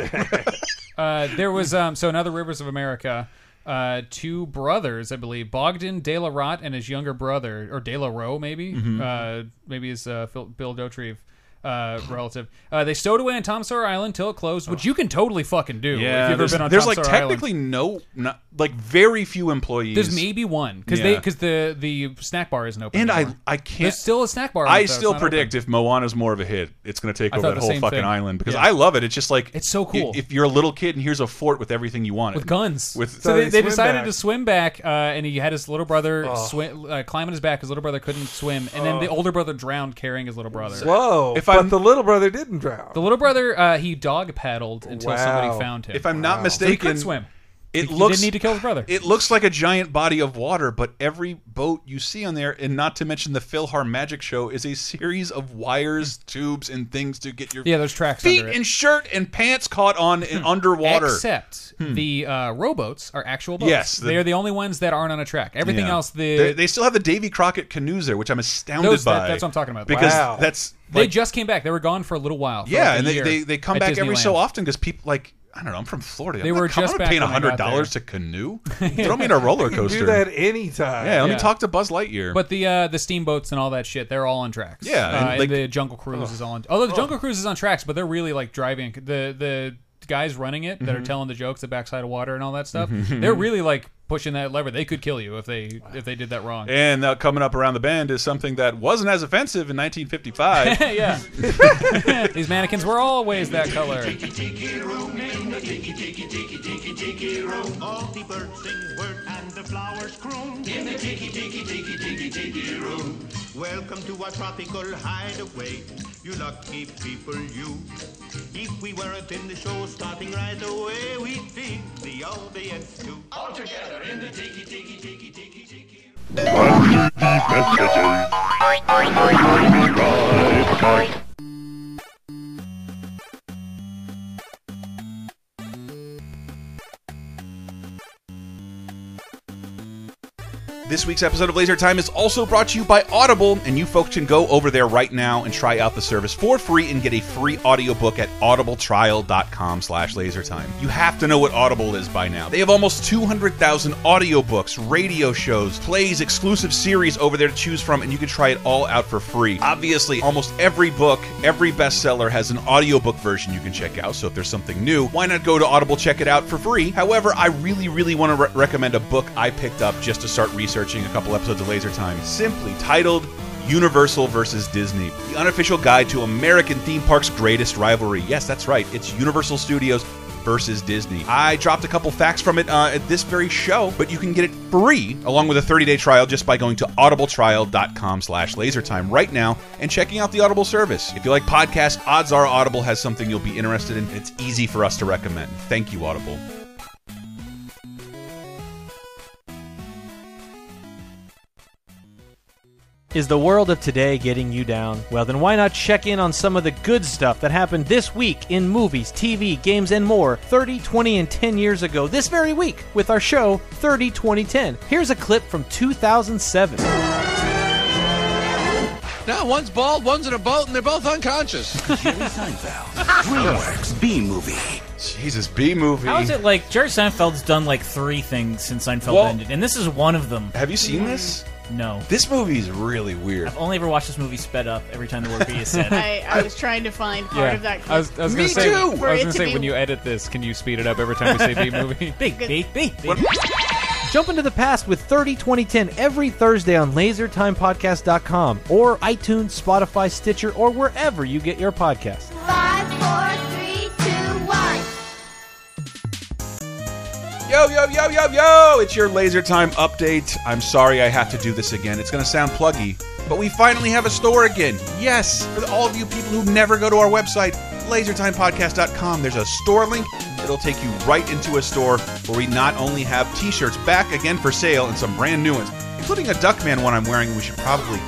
Speaker 3: Uh, there was um, so in other rivers of America, uh, two brothers, I believe, Bogdan De La Rot and his younger brother, or De La Roe, maybe,
Speaker 1: Mm-hmm.
Speaker 3: uh, maybe his uh, Phil, Bill Dotrieve. Uh, relative, uh, they stowed away on Tom Sawyer Island till it closed, which you can totally fucking do.
Speaker 1: Yeah,
Speaker 3: if you've
Speaker 1: there's,
Speaker 3: ever been on
Speaker 1: there's,
Speaker 3: Tom
Speaker 1: like
Speaker 3: Sawyer Island.
Speaker 1: technically no, not, like very few employees.
Speaker 3: There's maybe one because they
Speaker 1: Yeah.
Speaker 3: because the the snack bar isn't open.
Speaker 1: and I,
Speaker 3: anymore.
Speaker 1: I can't.
Speaker 3: there's still a snack bar.
Speaker 1: I
Speaker 3: out there,
Speaker 1: still
Speaker 3: it's not open.
Speaker 1: predict if Moana's more of a hit, it's going to take
Speaker 3: I
Speaker 1: over
Speaker 3: thought
Speaker 1: that
Speaker 3: the
Speaker 1: whole
Speaker 3: same
Speaker 1: fucking
Speaker 3: thing.
Speaker 1: island because
Speaker 3: Yeah.
Speaker 1: I love it. It's just like
Speaker 3: It's so
Speaker 1: i-
Speaker 3: cool.
Speaker 1: If you're a little kid and here's a fort with everything you wanted
Speaker 3: with guns.
Speaker 1: with
Speaker 3: so they, they
Speaker 4: they swim
Speaker 3: decided
Speaker 4: back. Oh.
Speaker 3: to swim back, uh, and he had his little brother swim, uh, climb on his back. His little brother couldn't swim, and then the older brother drowned carrying his little brother.
Speaker 4: Whoa!
Speaker 1: If
Speaker 4: If but
Speaker 1: I'm-
Speaker 4: the little brother didn't drown.
Speaker 3: The little brother uh, he dog paddled until
Speaker 4: Wow.
Speaker 3: somebody found him.
Speaker 1: if I'm not
Speaker 3: so he
Speaker 1: mistaken,
Speaker 3: could swim.
Speaker 1: it
Speaker 3: he
Speaker 1: looks
Speaker 3: didn't need to kill his brother.
Speaker 1: It looks like a giant body of water, but every boat you see on there, and not to mention the Philhar Magic Show, is a series of wires, tubes, and things to get your
Speaker 3: yeah, there's tracks
Speaker 1: feet
Speaker 3: under it. Hmm.
Speaker 1: and shirt and pants caught on and underwater.
Speaker 3: Except the uh, rowboats are actual boats.
Speaker 1: Hmm. Yes, the-
Speaker 3: they are the only ones that aren't on a track. Everything
Speaker 1: Yeah.
Speaker 3: else, the,
Speaker 1: they,
Speaker 3: they,
Speaker 1: they still have the Davy Crockett canoes there, which I'm astounded
Speaker 3: Those- that-
Speaker 1: by.
Speaker 3: that's what I'm talking about.
Speaker 1: Because
Speaker 4: Wow.
Speaker 1: that's like,
Speaker 3: just came back. They were gone for a little while. for
Speaker 1: yeah,
Speaker 3: like a
Speaker 1: and they,
Speaker 3: year
Speaker 1: they they come
Speaker 3: at
Speaker 1: back every so
Speaker 3: Disneyland.
Speaker 1: often because people like. I don't know. I'm from Florida.
Speaker 3: They
Speaker 1: I'm
Speaker 3: were
Speaker 1: not, com-
Speaker 3: just
Speaker 1: I'm
Speaker 3: back
Speaker 1: not paying
Speaker 3: when I got
Speaker 1: $100 to canoe. Throw me in a roller
Speaker 4: You
Speaker 1: coaster.
Speaker 4: do that anytime.
Speaker 1: yeah, let
Speaker 3: Yeah.
Speaker 1: me talk to Buzz Lightyear.
Speaker 3: But the uh, the steamboats and all that shit, they're all on tracks.
Speaker 1: Yeah,
Speaker 3: uh,
Speaker 1: and,
Speaker 3: and
Speaker 1: like-
Speaker 3: the Jungle Cruise is all on. Although the Jungle Cruise is on tracks, but they're really like driving the the guys running it that
Speaker 1: Mm-hmm.
Speaker 3: are telling the jokes, the backside of water and all that stuff. They're really like pushing that lever. They could kill you if they if they did that wrong.
Speaker 1: And uh, coming up around the bend is something that wasn't as offensive in 1955.
Speaker 3: yeah, these mannequins were always that color.
Speaker 11: Welcome to our tropical hideaway, you lucky people, you. If we weren't in the show starting right away, we'd be the audience too. All together in the tiki tiki tiki tiki tiki.
Speaker 1: This week's episode of Laser Time is also brought to you by Audible, and you folks can go over there right now and try out the service for free and get a free audiobook at audibletrial.com slash lasertime. You have to know what Audible is by now. They have almost 200,000 audiobooks, radio shows, plays, exclusive series over there to choose from, and you can try it all out for free. Obviously, almost every book, every bestseller has an audiobook version you can check out, so if there's something new, why not go to Audible, check it out for free? However, I really, really want to re recommend a book I picked up just to start researching a couple episodes of Laser Time, simply titled Universal versus Disney, the unofficial guide to American theme parks' greatest rivalry. Yes, that's right, it's Universal Studios versus Disney. I dropped a couple facts from it uh, at this very show, but you can get it free along with a 30-day trial just by going to audibletrial.com slash lasertime right now and checking out the Audible service. If you like podcasts, odds are Audible has something you'll be interested in. It's easy for us to recommend. Thank you, Audible.
Speaker 8: Is the world of today getting you down? Well, then why not check in on some of the good stuff that happened this week in movies, TV, games, and more 30, 20, and 10 years ago this very week with our show 30, 20, 10. Here's a clip from 2007.
Speaker 9: No, one's bald, one's in a boat, and they're both unconscious.
Speaker 10: DreamWorks B movie.
Speaker 1: Jesus, B movie.
Speaker 2: How is it like Jerry Seinfeld's done like three things since Seinfeld
Speaker 1: Well-
Speaker 2: ended, and this is one of them.
Speaker 1: Have you seen this?
Speaker 2: No.
Speaker 1: This movie is really weird.
Speaker 2: I've only ever watched this movie sped up every time the word B is said.
Speaker 12: I, I was trying to find part of that clip.
Speaker 3: I was, I was
Speaker 1: Me
Speaker 3: gonna say,
Speaker 1: too!
Speaker 3: I was
Speaker 12: For it
Speaker 3: gonna
Speaker 12: to
Speaker 3: say
Speaker 12: be-
Speaker 3: when you edit this, can you speed it up every time we say B movie?
Speaker 2: Big B, B, B.
Speaker 8: Jump into the past with 30 2010 every Thursday on lasertimepodcast.com or iTunes, Spotify, Stitcher, or wherever you get your podcasts.
Speaker 12: Five, four, three, two, one.
Speaker 1: Yo, Yo, yo, yo, yo, yo! It's your laser time update. I'm sorry I have to do this again. It's going to sound pluggy, but we finally have a store again. Yes, for all of you people who never go to our website, lasertimepodcast.com, there's a store link. It'll take you right into a store where we not only have t shirts back again for sale and some brand new ones, including a Duckman one I'm wearing, we should probably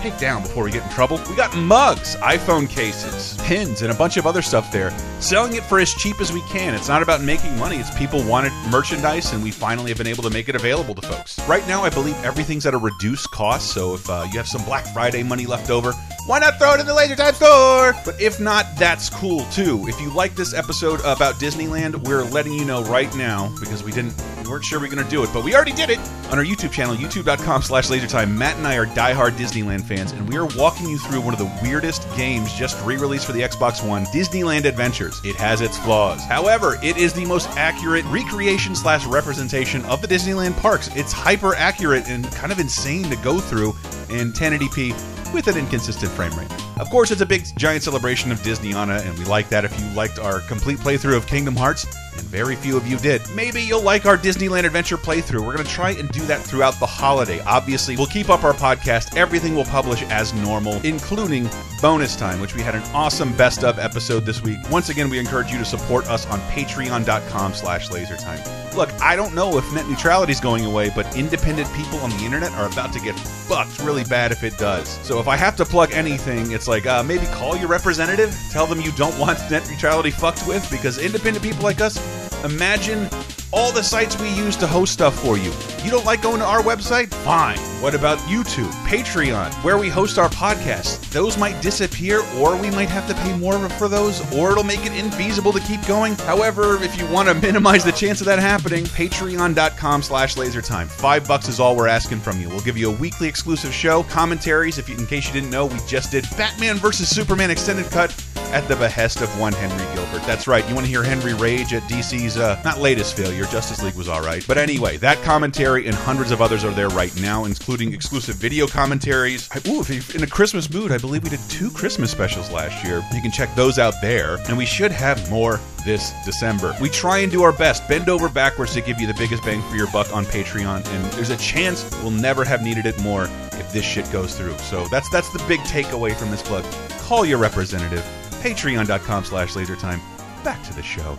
Speaker 1: take down before we get in trouble. We got mugs, iPhone cases, pins, and a bunch of other stuff there. Selling it for as cheap as we can. It's not about making money, it's people wanted merchandise, and we finally have been able to make it available to folks. Right now, I believe everything's at a reduced cost, so if uh, you have some Black Friday money left over, why not throw it in the Laser Time store? But if not, that's cool too. If you like this episode about Disneyland, we're letting you know right now because we didn't, we weren't sure we were going to do it, but we already did it on our YouTube channel, YouTube.com/slash LaserTime. Matt and I are diehard Disneyland fans, and we are walking you through one of the weirdest games just re-released for the Xbox One, Disneyland Adventures. It has its flaws, however, it is the most accurate recreation/slash representation of the Disneyland parks. It's hyper accurate and kind of insane to go through in 1080p with an inconsistent frame rate. Of course, it's a big, giant celebration of Disneyana, and we like that. If you liked our complete playthrough of Kingdom Hearts, and very few of you did, maybe you'll like our Disneyland Adventure playthrough. We're going to try and do that throughout the holiday. Obviously, we'll keep up our podcast. Everything will publish as normal, including bonus time, which we had an awesome best of episode this week. Once again, we encourage you to support us on patreon.com slash lasertime. Look, I don't know if net neutrality's going away, but independent people on the internet are about to get fucked really bad if it does. So if I have to plug anything, it's like uh, maybe call your representative, tell them you don't want net neutrality fucked with, because independent people like us, imagine all the sites we use to host stuff for you. You don't like going to our website? Fine. What about YouTube, Patreon, where we host our podcasts? Those might disappear, or we might have to pay more for those, or it'll make it infeasible to keep going. However, if you want to minimize the chance of that happening, patreon.com slash lasertime. Five bucks is all we're asking from you. We'll give you a weekly exclusive show, commentaries. If you, in case you didn't know, we just did Batman vs. Superman Extended Cut at the behest of one Henry Gilbert. That's right. You want to hear Henry rage at DC's uh, not latest failure. Justice League was all right, but anyway, that commentary and hundreds of others are there right now, including exclusive video commentaries. I, ooh, if you're in a Christmas mood, I believe we did two Christmas specials last year. You can check those out there, and we should have more this December. We try and do our best, bend over backwards to give you the biggest bang for your buck on Patreon, and there's a chance we'll never have needed it more if this shit goes through. So that's that's the big takeaway from this plug. Call your representative patreon.com slash lasertime. Back to the show.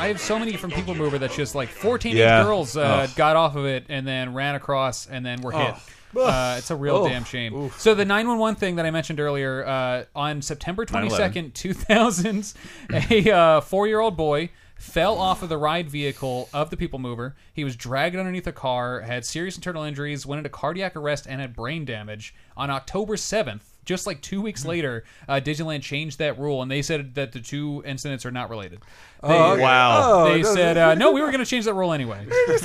Speaker 3: I have so many different people mover that's just like 14
Speaker 1: Yeah.
Speaker 3: girls uh,
Speaker 1: Ugh.
Speaker 3: got off of it and then ran across and then were hit.
Speaker 1: Ugh.
Speaker 3: Uh, it's a real
Speaker 1: Ugh.
Speaker 3: damn shame. So the 911 thing that I mentioned earlier uh, on September 22nd, 2000s, a uh, four-year-old boy fell off of the ride vehicle of the people mover. He was dragged underneath a car, had serious internal injuries, went into cardiac arrest, and had brain damage on October 7th. Just like two
Speaker 1: Hmm.
Speaker 3: weeks later, uh, Disneyland changed that rule, and they said that the two incidents are not related. They,
Speaker 4: Oh, okay. Wow. Oh,
Speaker 3: They
Speaker 4: it doesn't-
Speaker 3: said, uh, no, we were going to change that rule anyway.
Speaker 4: It's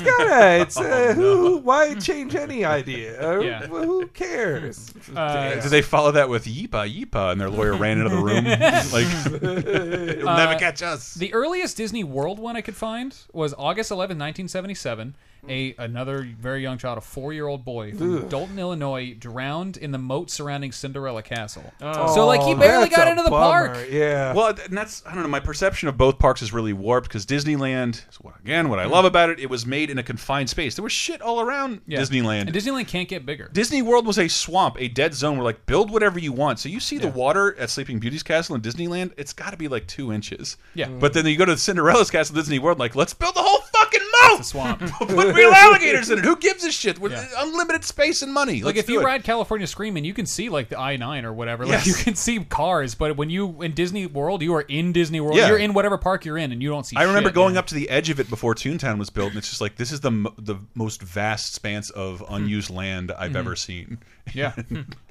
Speaker 4: gotta. It's uh, who? Why change any idea? Uh,
Speaker 3: Yeah. Uh,
Speaker 4: who- Who cares?
Speaker 1: Uh, Did they follow that with yeepa yeepa and their lawyer ran into the room? like, it'll never
Speaker 3: Uh,
Speaker 1: catch us.
Speaker 3: The earliest Disney World one I could find was August 11, 1977. A another very young child, a four-year-old boy from
Speaker 4: Ugh.
Speaker 3: Dalton, Illinois, drowned in the moat surrounding Cinderella Castle.
Speaker 4: Oh,
Speaker 3: so like he barely
Speaker 4: that's
Speaker 3: got
Speaker 4: a
Speaker 3: into the
Speaker 4: bummer.
Speaker 3: park.
Speaker 4: Yeah.
Speaker 1: Well, and that's I don't know. My perception of both parks is really warped because Disneyland. is what- Again, what I
Speaker 3: Mm-hmm.
Speaker 1: love about it, it was made in a confined space. There was shit all around
Speaker 3: Yeah.
Speaker 1: Disneyland.
Speaker 3: And Disneyland can't get bigger.
Speaker 1: Disney World was a swamp, a dead zone. Where like build whatever you want. So you see the water at Sleeping Beauty's castle in Disneyland, it's got to be like two inches.
Speaker 3: Yeah.
Speaker 1: But then you go to Cinderella's castle, Disney World, like let's build the whole fucking moat,
Speaker 3: swamp,
Speaker 1: put real alligators in it. Who gives a shit? We're-
Speaker 3: Yeah.
Speaker 1: Unlimited space and money.
Speaker 3: Like
Speaker 1: Let's
Speaker 3: if you
Speaker 1: do it.
Speaker 3: ride California Screaming, you can see like the I nine or whatever. Like
Speaker 1: Yes.
Speaker 3: you can see cars, but when you in Disney World, you are in Disney World.
Speaker 1: Yeah.
Speaker 3: You're in whatever park you're in, and you don't see.
Speaker 1: I remember
Speaker 3: shit.
Speaker 1: going up to the edge of it before Toontown was built, and it's just like this
Speaker 3: Hmm.
Speaker 1: is the mo- the most vast expanse of unused land I've
Speaker 3: Mhm.
Speaker 1: ever seen.
Speaker 3: Yeah,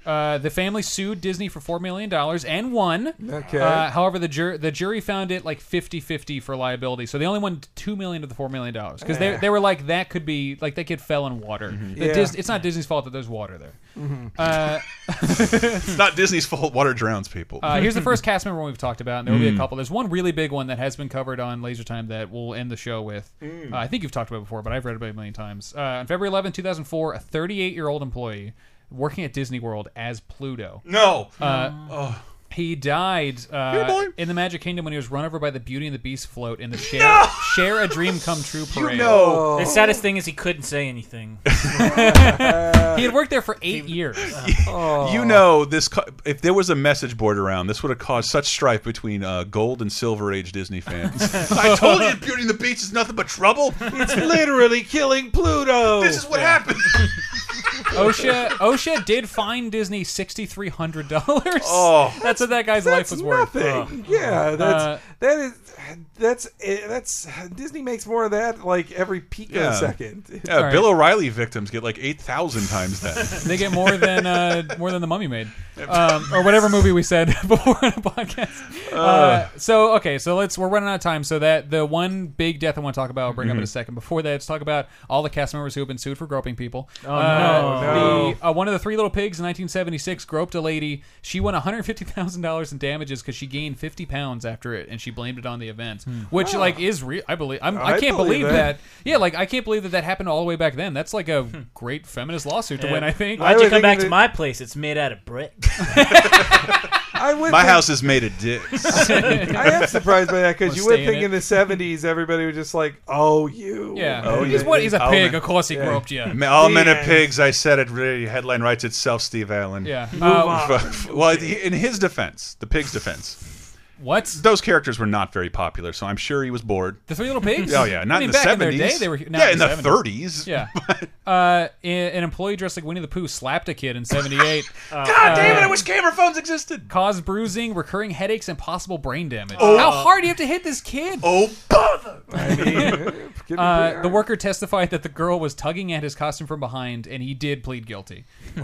Speaker 3: Uh, the family sued Disney for four million dollars and won.
Speaker 4: Okay.
Speaker 3: Uh, however, the jur- the jury found it like 50-50 for liability, so they only won two million of the four million dollars because they
Speaker 4: Yeah.
Speaker 3: they were like that could be like that kid fell in water. The
Speaker 4: Yeah.
Speaker 3: Dis- it's not Disney's fault that there's water there. Uh,
Speaker 1: it's not Disney's fault. Water drowns people.
Speaker 3: Uh, here's the first cast member we've talked about, and there will be
Speaker 1: Mm.
Speaker 3: a couple. There's one really big one that has been covered on Laser Time that we'll end the show with.
Speaker 1: Mm.
Speaker 3: Uh, I think you've talked about it before, but I've read about it a million times. Uh, on February 11, 2004, a 38 year old employee working at Disney World as Pluto.
Speaker 1: No.
Speaker 3: Uh,
Speaker 1: Oh.
Speaker 3: He died
Speaker 1: Here,
Speaker 3: uh,
Speaker 1: boy.
Speaker 3: in the Magic Kingdom when he was run over by the Beauty and the Beast float in the Share, Share a Dream Come True parade.
Speaker 2: The saddest thing is he couldn't say anything. he
Speaker 3: had worked there for eight years.
Speaker 1: You know, this co- if there was a message board around, this would have caused such strife between uh, gold and silver age Disney fans. I told you, Beauty and the Beast is nothing but trouble.
Speaker 4: It's literally killing Pluto.
Speaker 1: This is what happened.
Speaker 3: OSHA OSHA did fine Disney sixty three hundred dollars.
Speaker 4: Oh.
Speaker 3: that's what that guy's life was worth.
Speaker 4: Nothing. Yeah, that's
Speaker 3: Uh,
Speaker 4: that is that's eh, that's Disney makes more of that like every pico
Speaker 1: Yeah.
Speaker 4: second.
Speaker 1: Yeah, Bill O'Reilly victims get like eight thousand times that.
Speaker 3: they get more than uh, more than the Mummy made, um, or whatever movie we said before on the podcast. Uh, so okay, so let's we're running out of time. So that the one big death I want to talk about, I'll bring up in a
Speaker 8: Mhm.
Speaker 3: second. Before that, let's talk about all the cast members who have been sued for groping people.
Speaker 8: Oh, no. No.
Speaker 3: The, uh, one of the Three Little Pigs in 1976 groped a lady. She won 150 thousand dollars in damages because she gained 50 pounds after it, and she blamed it on the event, which
Speaker 8: Hmm. Wow.
Speaker 3: like is real. I believe I'm, I
Speaker 8: I
Speaker 3: can't
Speaker 8: believe
Speaker 3: believe,
Speaker 8: it.
Speaker 3: that. Yeah, like I can't believe that that happened all the way back then. That's like a great feminist lawsuit to win. I think.
Speaker 2: Why'd you come back to my place? It's made out of brick.
Speaker 4: I would
Speaker 1: My
Speaker 4: think-
Speaker 1: house is made of dicks.
Speaker 4: I am surprised by that because you
Speaker 1: Wanna
Speaker 4: would
Speaker 1: stay in
Speaker 4: think
Speaker 1: it.
Speaker 4: in the '70s everybody was just like, "Oh, you."
Speaker 3: Yeah.
Speaker 1: Oh,
Speaker 3: He's
Speaker 1: yeah.
Speaker 3: what- he's a
Speaker 1: All
Speaker 3: pig,
Speaker 1: men-
Speaker 3: of course he groped you.
Speaker 1: Ma- All
Speaker 3: The
Speaker 1: men are
Speaker 3: end.
Speaker 1: pigs. I said it. Really, headline writes itself. Steve Allen.
Speaker 3: Yeah. Uh, Move on.
Speaker 1: F- well, he- in his defense, the pig's defense.
Speaker 3: What?
Speaker 1: Those characters were not very popular, so I'm sure he was bored.
Speaker 3: The Three Little Pigs.
Speaker 1: Oh yeah, not
Speaker 3: I mean,
Speaker 1: in the
Speaker 3: back in their
Speaker 1: seventies.
Speaker 3: day, they were not
Speaker 1: yeah, in the
Speaker 3: 70s.
Speaker 1: thirties.
Speaker 3: Yeah. uh, an an employee dressed like Winnie the Pooh slapped a kid in '78. God
Speaker 1: damn it! I wish camera phones existed.
Speaker 3: Caused bruising, recurring headaches, and possible brain damage.
Speaker 8: Oh.
Speaker 3: How hard do you have to hit this kid?
Speaker 1: Oh bother!
Speaker 3: uh, the worker testified that the girl was tugging at his costume from behind, and he did plead guilty.
Speaker 1: Wow!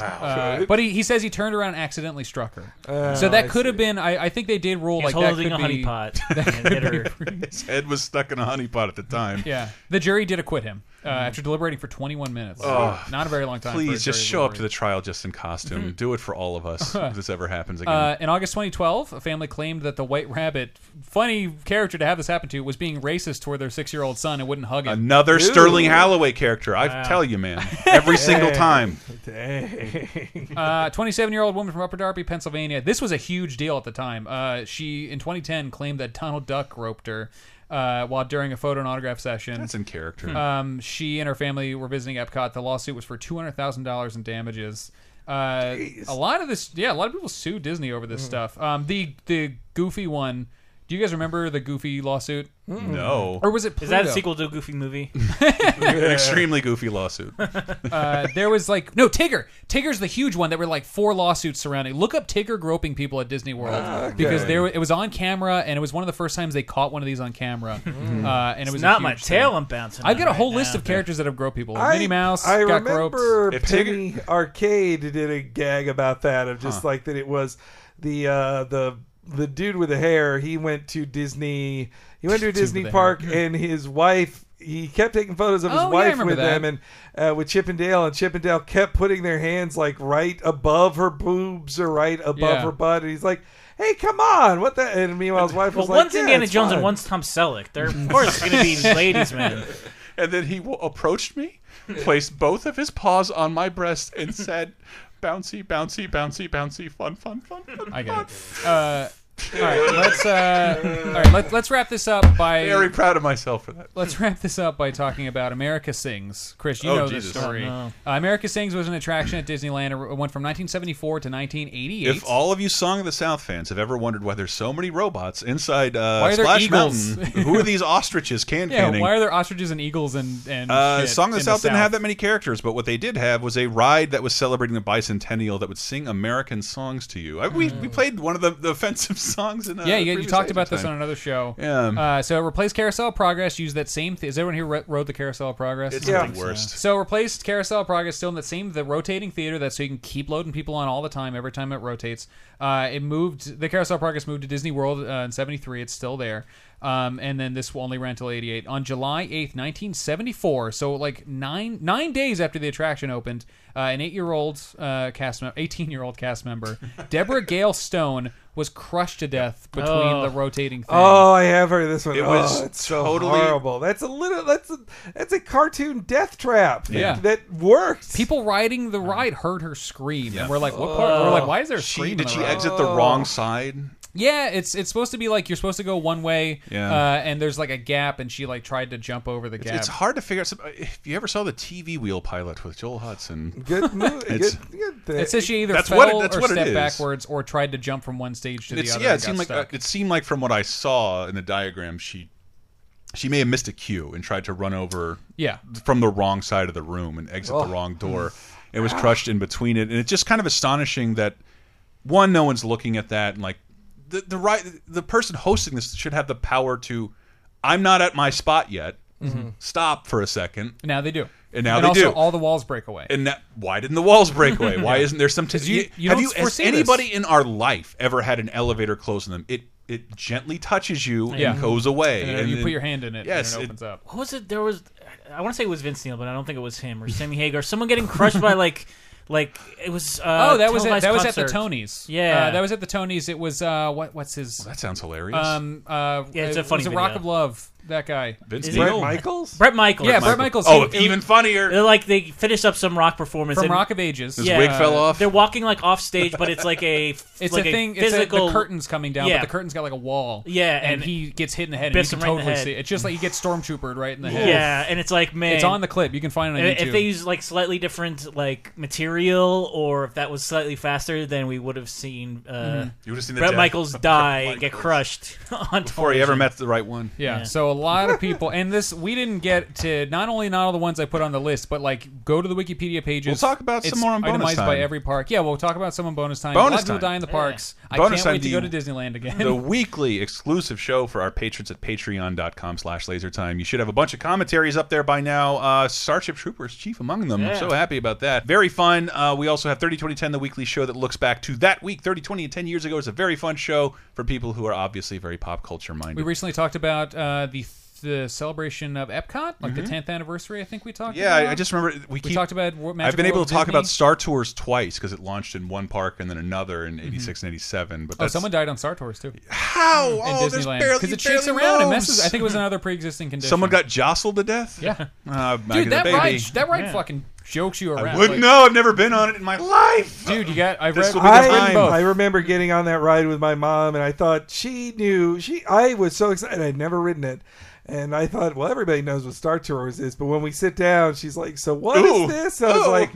Speaker 3: Uh, but he, he says he turned around and accidentally struck her.
Speaker 1: Oh,
Speaker 3: so that
Speaker 1: I
Speaker 3: could have been. I, I think they did rule
Speaker 2: He was
Speaker 3: like that
Speaker 2: holding
Speaker 3: could
Speaker 2: a honey
Speaker 3: be-
Speaker 2: pot
Speaker 3: that
Speaker 2: and
Speaker 3: could
Speaker 2: hit her.
Speaker 1: His head was stuck in a honey pot at the time.
Speaker 3: Yeah, the jury did acquit him uh,
Speaker 2: Mm-hmm.
Speaker 3: after deliberating for 21 minutes.
Speaker 1: Oh.
Speaker 3: Not a very long time. for a
Speaker 1: Please just
Speaker 3: jury
Speaker 1: show up to
Speaker 3: deliberation.
Speaker 1: the trial just in costume. Do it for all of us if this ever happens again.
Speaker 3: Mm-hmm. Uh, in August 2012, a family claimed that the White Rabbit, funny character to have this happen to, was being racist toward their six-year-old son and wouldn't hug him.
Speaker 1: Another Sterling Holloway character. I
Speaker 3: Wow.
Speaker 1: tell you, man. Every single
Speaker 3: Dang.
Speaker 1: time.
Speaker 3: Uh, 27-year-old woman from Upper Darby, Pennsylvania. This was a huge deal at the time. Uh, she, in 2010, claimed that Donald Duck roped her uh, while during a photo and autograph session.
Speaker 1: That's in character.
Speaker 3: Um, she and her family were visiting Epcot. The lawsuit was for two hundred thousand dollars in damages. Uh, a lot of this, yeah, a lot of people sue Disney over this stuff. Um, the the Goofy one. Do you guys remember the Goofy lawsuit?
Speaker 1: Mm-mm. No.
Speaker 3: Or was it?
Speaker 2: Is that a
Speaker 3: Pluto?
Speaker 2: sequel to a Goofy movie?
Speaker 1: An extremely goofy lawsuit.
Speaker 3: uh, there was like no Tigger. Tigger's the huge one that were like four lawsuits surrounding. Look up Tigger groping people at Disney World
Speaker 2: Ah, okay.
Speaker 3: because there it was on camera and it was one of the first times they caught one of these on camera.
Speaker 2: Mm.
Speaker 3: Uh, and
Speaker 2: It's
Speaker 3: it was a
Speaker 2: not my
Speaker 3: huge
Speaker 2: tail
Speaker 3: thing.
Speaker 2: I'm bouncing
Speaker 3: I've got a
Speaker 2: on
Speaker 3: whole
Speaker 2: right
Speaker 3: list
Speaker 2: now.
Speaker 3: of characters that have groped people.
Speaker 4: I-
Speaker 3: Minnie Mouse
Speaker 4: I
Speaker 3: got groped.
Speaker 4: remember
Speaker 3: If Tigger-
Speaker 4: Penny Arcade did a gag about that of just
Speaker 3: Huh.
Speaker 4: like that it was the uh, the the dude with the hair. He went to Disney. He went to a
Speaker 3: Dude
Speaker 4: Disney
Speaker 3: with the
Speaker 4: park and his wife. He kept taking photos of his
Speaker 3: Oh, yeah, I
Speaker 4: wife
Speaker 3: remember
Speaker 4: with
Speaker 3: that.
Speaker 4: them and uh, with Chip and Dale, and Chip and Dale kept putting their hands like right above her boobs or right above
Speaker 2: Yeah.
Speaker 4: her butt, and he's like, "Hey, come on, what the?" And meanwhile, his wife
Speaker 2: Well,
Speaker 4: was like,
Speaker 2: one's
Speaker 4: "Yeah,
Speaker 2: Indiana
Speaker 4: it's
Speaker 2: Jones
Speaker 4: fine."
Speaker 2: and one's Tom Selleck. They're of course going to be ladies, man.
Speaker 1: And then he w- approached me, placed both of his paws on my breast, and said, "Bouncy, bouncy, bouncy, bouncy, fun, fun, fun." fun
Speaker 3: I
Speaker 1: fun."
Speaker 3: get it. Uh, all right, let's uh, all right, let, let's wrap this up by
Speaker 1: Very proud of myself for that.
Speaker 3: Let's wrap this up by talking about America Sings. Chris, you
Speaker 1: Oh,
Speaker 3: know
Speaker 1: Jesus.
Speaker 3: the story.
Speaker 1: Oh,
Speaker 3: Uh, America Sings was an attraction at Disneyland. It went from 1974 to 1988.
Speaker 1: If all of you Song of the South fans have ever wondered why there's so many robots inside uh,
Speaker 3: Why are there
Speaker 1: Splash
Speaker 3: eagles?
Speaker 1: Mountain, who are these ostriches can
Speaker 3: yeah,
Speaker 1: canning?
Speaker 3: why are there ostriches and eagles and and
Speaker 1: uh,
Speaker 3: shit
Speaker 1: Song of the
Speaker 3: in
Speaker 1: South didn't have that many characters, but what they did have was a ride that was celebrating the bicentennial that would sing American songs to you. I, we, we played one of the, the offensive songs in. Uh,
Speaker 3: Hmm. yeah, you, you
Speaker 1: previous
Speaker 3: talked
Speaker 1: Agent
Speaker 3: about this
Speaker 1: time.
Speaker 3: on another show.
Speaker 1: Yeah.
Speaker 3: Uh, so replace Carousel of Progress. Use that same. Th- is everyone here re- rode the Carousel of Progress?
Speaker 1: It's Yeah. the worst.
Speaker 3: So replace Carousel of Progress still in that same the rotating theater that so you can keep loading people on all the time every time it rotates. Uh, it moved the Carousel of Progress moved to Disney World uh, in '73. It's still there. Um, and then this will only run till '88 on July 8th, 1974. So like nine nine days after the attraction opened, uh, an eight year old uh, cast member, 18 year old cast member, Deborah Gale Stone was crushed to death between
Speaker 4: Oh.
Speaker 3: the rotating thing.
Speaker 4: Oh, I have heard of this one.
Speaker 3: It
Speaker 4: It
Speaker 3: was
Speaker 4: was it's so
Speaker 3: totally-
Speaker 4: horrible. That's a little. That's a, that's a cartoon death trap. that-
Speaker 3: Yeah.
Speaker 4: that worked.
Speaker 3: People riding the ride heard her scream, and we're like, "What part?" we're like, "Why is there a
Speaker 1: She-
Speaker 3: scream?" in
Speaker 1: Did
Speaker 3: the
Speaker 1: she
Speaker 3: ride?
Speaker 1: exit the wrong side?
Speaker 3: Yeah, it's it's supposed to be like you're supposed to go one way,
Speaker 1: Yeah.
Speaker 3: uh, and there's like a gap, and she like tried to jump over the
Speaker 1: It's,
Speaker 3: gap.
Speaker 1: it's hard to figure out. some- If you ever saw the TV wheel pilot with Joel Hudson,
Speaker 4: good movie.
Speaker 1: It's,
Speaker 3: it says she either
Speaker 1: that's
Speaker 3: fell
Speaker 1: what it- that's
Speaker 3: or
Speaker 1: what it
Speaker 3: stepped
Speaker 1: is.
Speaker 3: backwards or tried to jump from one stage to the
Speaker 1: It's-
Speaker 3: other.
Speaker 1: yeah,
Speaker 3: and
Speaker 1: it
Speaker 3: got
Speaker 1: seemed like uh,
Speaker 3: stuck.
Speaker 1: it seemed like from what I saw in the diagram, she she may have missed a cue and tried to run over
Speaker 3: Yeah.
Speaker 1: from the wrong side of the room and exit
Speaker 3: Oh.
Speaker 1: the wrong door. It was crushed in between it, and it's just kind of astonishing that one, no one's looking at that, and like the the right the person hosting this should have the power to. I'm not at my spot yet.
Speaker 3: Mhm.
Speaker 1: Stop for a second.
Speaker 3: now they do,
Speaker 1: And now they
Speaker 3: also
Speaker 1: do.
Speaker 3: All the walls break away.
Speaker 1: And that, why didn't the walls break away? Why
Speaker 3: Yeah.
Speaker 1: isn't there some? T-
Speaker 3: 'Cause you-
Speaker 1: you-
Speaker 3: you
Speaker 1: have
Speaker 3: don't
Speaker 1: you has
Speaker 3: foresee this.
Speaker 1: anybody in our life ever had an elevator close on them? It it gently touches you
Speaker 3: Yeah.
Speaker 1: and goes away.
Speaker 3: And then you put your hand in it and
Speaker 1: Yes,
Speaker 3: it opens up.
Speaker 2: What was it? There was. I want to say it was Vince Neil, but I don't think it was him or Sammy Hagar. Someone getting crushed by like, like it was. Uh,
Speaker 3: oh, that was at,
Speaker 2: televised
Speaker 3: that was at
Speaker 2: concert.
Speaker 3: the Tonys.
Speaker 2: Yeah,
Speaker 3: uh, that was at the Tonys. It was uh, what what's his?
Speaker 1: that sounds hilarious.
Speaker 3: Um, uh,
Speaker 2: Yeah, it's a
Speaker 3: it
Speaker 2: funny
Speaker 3: was Rock
Speaker 2: video.
Speaker 3: of Love. That guy,
Speaker 1: Vince Is it- Neil? Bret Michaels?
Speaker 2: Brett Michaels.
Speaker 3: Yeah, Brett Michaels.
Speaker 2: Oh,
Speaker 3: It was-
Speaker 1: even funnier.
Speaker 2: They're like they finished up some rock performance
Speaker 3: From
Speaker 2: and-
Speaker 3: Rock of Ages. His
Speaker 2: Yeah,
Speaker 3: wig fell off.
Speaker 2: They're walking like off stage, but it's like a
Speaker 3: It's
Speaker 2: like
Speaker 3: a thing.
Speaker 2: Physical
Speaker 3: it's a, the curtain's coming down,
Speaker 2: Yeah.
Speaker 3: but the curtain's got like a wall.
Speaker 2: Yeah,
Speaker 3: and,
Speaker 2: and
Speaker 3: he gets hit in the head, and you
Speaker 2: biffs
Speaker 3: can
Speaker 2: him right in the
Speaker 3: totally
Speaker 2: head.
Speaker 3: see it. It's just like you get stormtroopered right in the head.
Speaker 2: Yeah, and it's like man,
Speaker 3: it's on the clip. You can find it on
Speaker 2: if-
Speaker 3: YouTube.
Speaker 2: If they use like slightly different like material, or if that was slightly faster, then we would have seen. Uh,
Speaker 3: Mhm.
Speaker 1: You would have seen the
Speaker 2: Brett
Speaker 1: death
Speaker 2: Michaels
Speaker 1: of Bret
Speaker 2: die, and get
Speaker 1: Michaels.
Speaker 2: crushed on
Speaker 1: Before he
Speaker 2: television.
Speaker 1: ever met the right one.
Speaker 3: Yeah, so a lot of people, and this we didn't get to. Not only not all the ones I put on the list, but like go to the Wikipedia pages.
Speaker 1: We'll talk about some
Speaker 3: It's
Speaker 1: more on bonus
Speaker 3: itemized by
Speaker 1: time.
Speaker 3: every park. Yeah, we'll talk about some on bonus time. a lot
Speaker 1: Bonus
Speaker 3: of people
Speaker 1: time.
Speaker 3: die in the parks. I
Speaker 1: Bonus
Speaker 3: can't
Speaker 1: time,
Speaker 3: wait to
Speaker 1: the-
Speaker 3: go to Disneyland again.
Speaker 1: the weekly exclusive show for our patrons at patreon.com slash lasertime. You should have a bunch of commentaries up there by now. Uh, Starship Troopers, chief among them. I'm
Speaker 3: Yeah.
Speaker 1: so happy about that. Very fun. Uh, we also have 30, 20, 10, the weekly show that looks back to that week, 30, 20, and 10 years ago. It's a very fun show for people who are obviously very pop culture minded.
Speaker 3: We recently talked about uh, the the celebration of Epcot, like the
Speaker 1: Mhm.
Speaker 3: 10th anniversary. I think we talked.
Speaker 1: yeah,
Speaker 3: about.
Speaker 1: I, I just remember we, keep,
Speaker 3: talked about. Wo- Magic
Speaker 1: I've been
Speaker 3: World
Speaker 1: able
Speaker 3: of
Speaker 1: to talk
Speaker 3: Disney.
Speaker 1: about Star Tours twice because it launched in one park and then another in 86 and 87. But
Speaker 3: Mm-hmm. Oh,
Speaker 1: that's,
Speaker 3: someone died on Star Tours too.
Speaker 1: How?
Speaker 3: In
Speaker 1: Oh, there's
Speaker 3: Disneyland
Speaker 1: barely-
Speaker 3: because it
Speaker 1: you barely
Speaker 3: shakes around and
Speaker 1: moves.
Speaker 3: messes. I think it was another pre-existing condition.
Speaker 1: someone got jostled to death.
Speaker 3: Yeah,
Speaker 1: uh,
Speaker 3: dude, that
Speaker 1: baby.
Speaker 3: ride, that ride fucking jokes you around.
Speaker 1: I wouldn't
Speaker 3: Like,
Speaker 1: know. I've never been on it in my life.
Speaker 3: Dude, you got. I
Speaker 1: This
Speaker 3: read.
Speaker 1: will be the
Speaker 3: I've
Speaker 1: time.
Speaker 3: written both.
Speaker 4: I remember getting on that ride with my mom, and I thought she knew. She, I was so excited. I'd never ridden it, and I thought, well, everybody knows what Star Tours is. But when we sit down, she's like, "So what is
Speaker 3: Ooh.
Speaker 4: this?" I was like,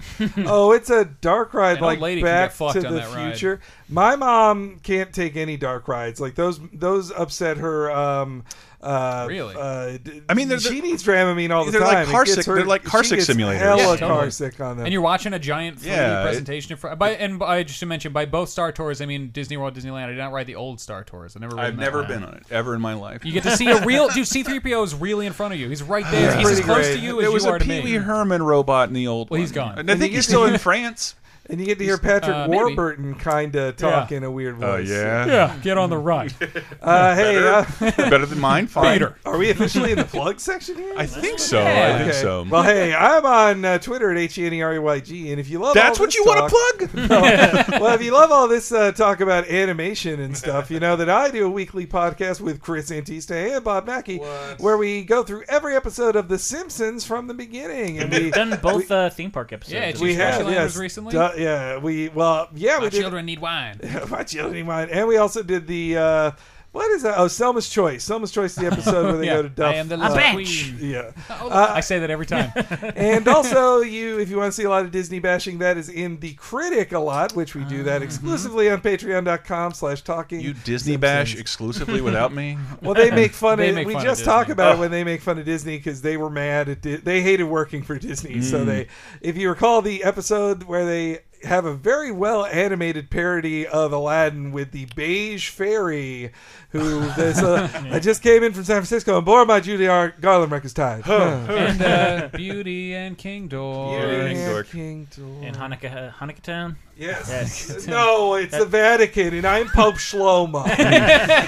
Speaker 4: "Oh, it's a dark ride,
Speaker 3: An old
Speaker 4: like
Speaker 3: lady can get
Speaker 4: Back
Speaker 3: fucked
Speaker 4: to
Speaker 3: on
Speaker 4: the
Speaker 3: that ride.
Speaker 4: Future." My mom can't take any dark rides. Like those, those upset her. Um, uh,
Speaker 3: Really?
Speaker 4: Uh, d-
Speaker 1: I mean, they're-
Speaker 4: she needs Dramamine all the
Speaker 1: they're like
Speaker 4: time. It gets
Speaker 1: Carsick-
Speaker 4: her-
Speaker 1: they're like
Speaker 4: she
Speaker 1: Carsick
Speaker 4: gets
Speaker 1: simulators.
Speaker 4: Hella
Speaker 1: Yeah,
Speaker 3: totally.
Speaker 4: Carsick on them.
Speaker 3: And you're watching a giant 3D
Speaker 1: Yeah, it-
Speaker 3: presentation. for, by, and by, just to mention, by both Star Tours, I mean Disney World, Disneyland. I did not ride the old Star Tours. I never. ridden
Speaker 1: I've
Speaker 3: that
Speaker 1: never
Speaker 3: one.
Speaker 1: been on it ever in my life.
Speaker 3: You get to see a real dude. C three PO is really in front of you. He's right there. He's as close to you as
Speaker 1: There was
Speaker 3: you are
Speaker 1: a
Speaker 3: to
Speaker 1: Pee Wee
Speaker 3: me.
Speaker 1: Herman robot in the old.
Speaker 3: Well, he's
Speaker 1: one.
Speaker 3: gone.
Speaker 1: And I think he's still in France.
Speaker 4: And you get to hear Patrick
Speaker 3: Uh, maybe.
Speaker 4: Warburton kind of talk in a weird
Speaker 1: Oh,
Speaker 4: voice.
Speaker 1: yeah?
Speaker 3: Yeah, get on the ride.
Speaker 4: Uh, hey,
Speaker 1: Better-
Speaker 4: uh,
Speaker 1: better than mine, fine. Peter.
Speaker 4: Are we officially in the plug section here?
Speaker 1: I think so. I think so.
Speaker 4: Well, hey, I'm on uh, Twitter at H-E-N-E-R-E-Y-G, and if you love
Speaker 1: That's
Speaker 3: Oh,
Speaker 1: what
Speaker 4: all this
Speaker 1: you wanna
Speaker 4: talk-
Speaker 1: plug?
Speaker 4: No. well, if you love all this uh, talk about animation and stuff, you know that I do a weekly podcast with Chris Antista and Bob Mackey, where we go through every episode of The Simpsons from the beginning, and we
Speaker 2: We've done both uh, theme park episodes.
Speaker 4: we have yes, Duh, yeah, we well, yeah,
Speaker 3: My
Speaker 4: we did.
Speaker 3: children need wine.
Speaker 4: my children need wine, and we also did the. Uh, what is that? Oh, Selma's Choice. Selma's Choice, is the episode where they
Speaker 3: Yeah,
Speaker 4: go to Duff.
Speaker 3: I am the
Speaker 4: uh,
Speaker 3: little queen.
Speaker 4: Yeah.
Speaker 1: Oh.
Speaker 4: Uh,
Speaker 3: I say that every time.
Speaker 4: and also, you if you want to see a lot of Disney bashing, that is in the critic a lot, which we do that exclusively on Patreon.com/slash Talking.
Speaker 1: Ah. You Disney bash exclusively without me.
Speaker 4: Well, they make fun
Speaker 3: They
Speaker 4: of.
Speaker 3: make
Speaker 4: we
Speaker 3: fun of
Speaker 4: just talk
Speaker 3: Disney.
Speaker 4: about
Speaker 3: Ugh.
Speaker 4: it when they make fun of Disney because they
Speaker 3: Mm.
Speaker 4: were mad at. Di- they hated working for Disney, so they. If you recall the episode where they have a very well animated parody of Aladdin with the beige fairy, who this, uh, I just came in from San Francisco and bore my Judy R. Garland records tied.
Speaker 3: and uh, Beauty and King Door.
Speaker 4: Beauty and King Dork.
Speaker 2: In Hanukkah, uh, Hanukkah Town?
Speaker 4: Yes. no, it's the Vatican, and I'm Pope Shlomo.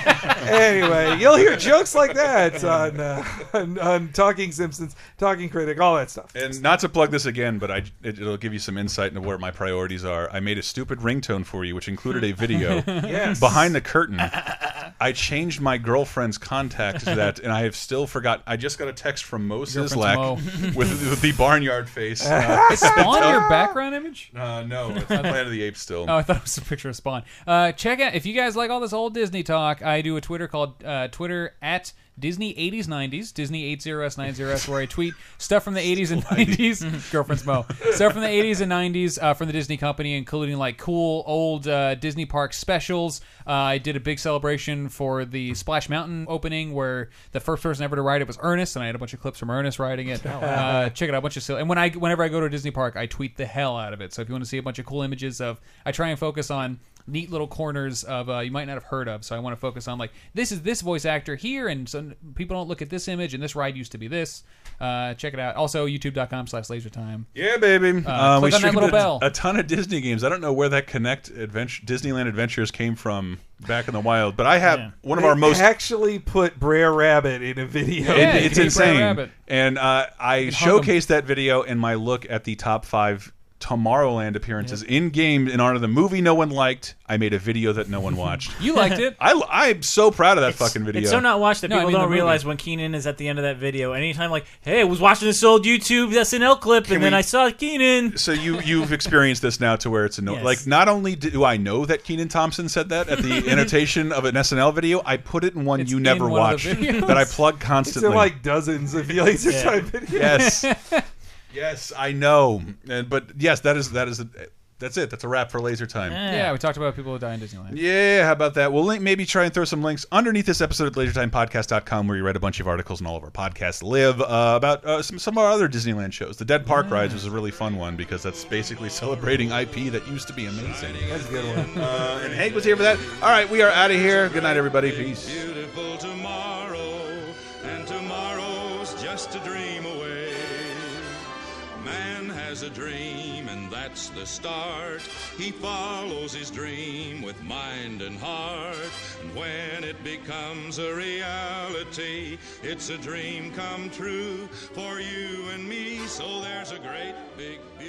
Speaker 4: anyway, you'll hear jokes like that on, uh, on, on Talking Simpsons, Talking Critic, all that stuff.
Speaker 1: And not to plug this again, but I, it, it'll give you some insight into where my priorities are. I made a stupid ringtone for you, which included a video
Speaker 4: Yes.
Speaker 1: behind the curtain. I changed my girlfriend's contact to that, and I have still forgot. I just got a text from Mo
Speaker 3: Girlfriend's
Speaker 1: Sislak
Speaker 3: Mo.
Speaker 1: with, with the barnyard face.
Speaker 3: Is Spawn your background image?
Speaker 1: Uh, no, it's Planet of the Apes still.
Speaker 3: Oh, I thought it was a picture of Spawn. Uh, check out if you guys like all this old Disney talk. I do a Twitter called uh, Twitter at Disney 80s 90s Disney 80s 90s where I tweet stuff from the 80s and 90s. Girlfriend's Mo stuff from the 80s and 90s uh, from the Disney Company, including like cool old uh, Disney park specials. Uh, I did a big celebration for the Splash Mountain opening where the first person ever to ride it was Ernest, and I had a bunch of clips from Ernest riding it. Uh, check it out, a bunch of silly. And when I whenever I go to a Disney park, I tweet the hell out of it. So if you want to see a bunch of cool images of, I try and focus on neat little corners of uh, you might not have heard of. So I want to focus on like this is this voice actor here, and some people don't look at this image, and this ride used to be this. Uh, check it out. Also, YouTube.com/slash Laser Time.
Speaker 1: Yeah, baby.
Speaker 3: Uh,
Speaker 1: we
Speaker 3: click on that
Speaker 1: streamed
Speaker 3: little
Speaker 1: a,
Speaker 3: bell.
Speaker 1: a ton of Disney games. I don't know where that Connect Adventure Disneyland Adventures came from back in the wild, but I have one of
Speaker 4: They
Speaker 1: our most.
Speaker 4: actually put Brer Rabbit in a video.
Speaker 1: It- it's insane, and uh, I showcased that video in my look at the top five Tomorrowland appearances in game in honor of the movie no one liked. I made a video that no one watched.
Speaker 3: You liked it.
Speaker 1: I, I'm so proud of that fucking video.
Speaker 2: It's so not watched that
Speaker 3: No, I
Speaker 2: people
Speaker 3: mean the
Speaker 2: don't
Speaker 3: movie.
Speaker 2: realize when Keenan is at the end of that video. Anytime, like, hey, I was watching this old YouTube SNL clip, and then
Speaker 1: we-
Speaker 2: I saw Keenan.
Speaker 1: so you you've experienced this now to where it's annoying.
Speaker 2: Yes.
Speaker 1: Like not only do I know that Keenan Thompson said that at the annotation of an SNL video, I put it in one you never
Speaker 4: in one of the
Speaker 1: watched
Speaker 4: videos.
Speaker 1: that I plug
Speaker 4: It's
Speaker 1: constantly.
Speaker 4: in like dozens of laser
Speaker 1: Yeah.
Speaker 4: time videos.
Speaker 1: Yes. yes, I know. And but yes, that is that is that's it. That's a wrap for laser time.
Speaker 3: Yeah. we talked about people who die in Disneyland.
Speaker 1: Yeah, how about that? We'll link, maybe try and throw some links underneath this episode at lasertimepodcast.com where you read a bunch of articles and all of our podcasts live uh, about uh, some, some of our other Disneyland shows. The Dead Park Rides was a really fun one because that's basically celebrating IP that used to be amazing. That's a good one. Uh, and Hank was here for that. All right, we are out of here. Good night, everybody. Peace.
Speaker 11: beautiful tomorrow, and tomorrow's just a dream away. Man has a dream, and that's the start. He follows his dream with mind and heart. And when it becomes a reality, it's a dream come true for you and me. So there's a great big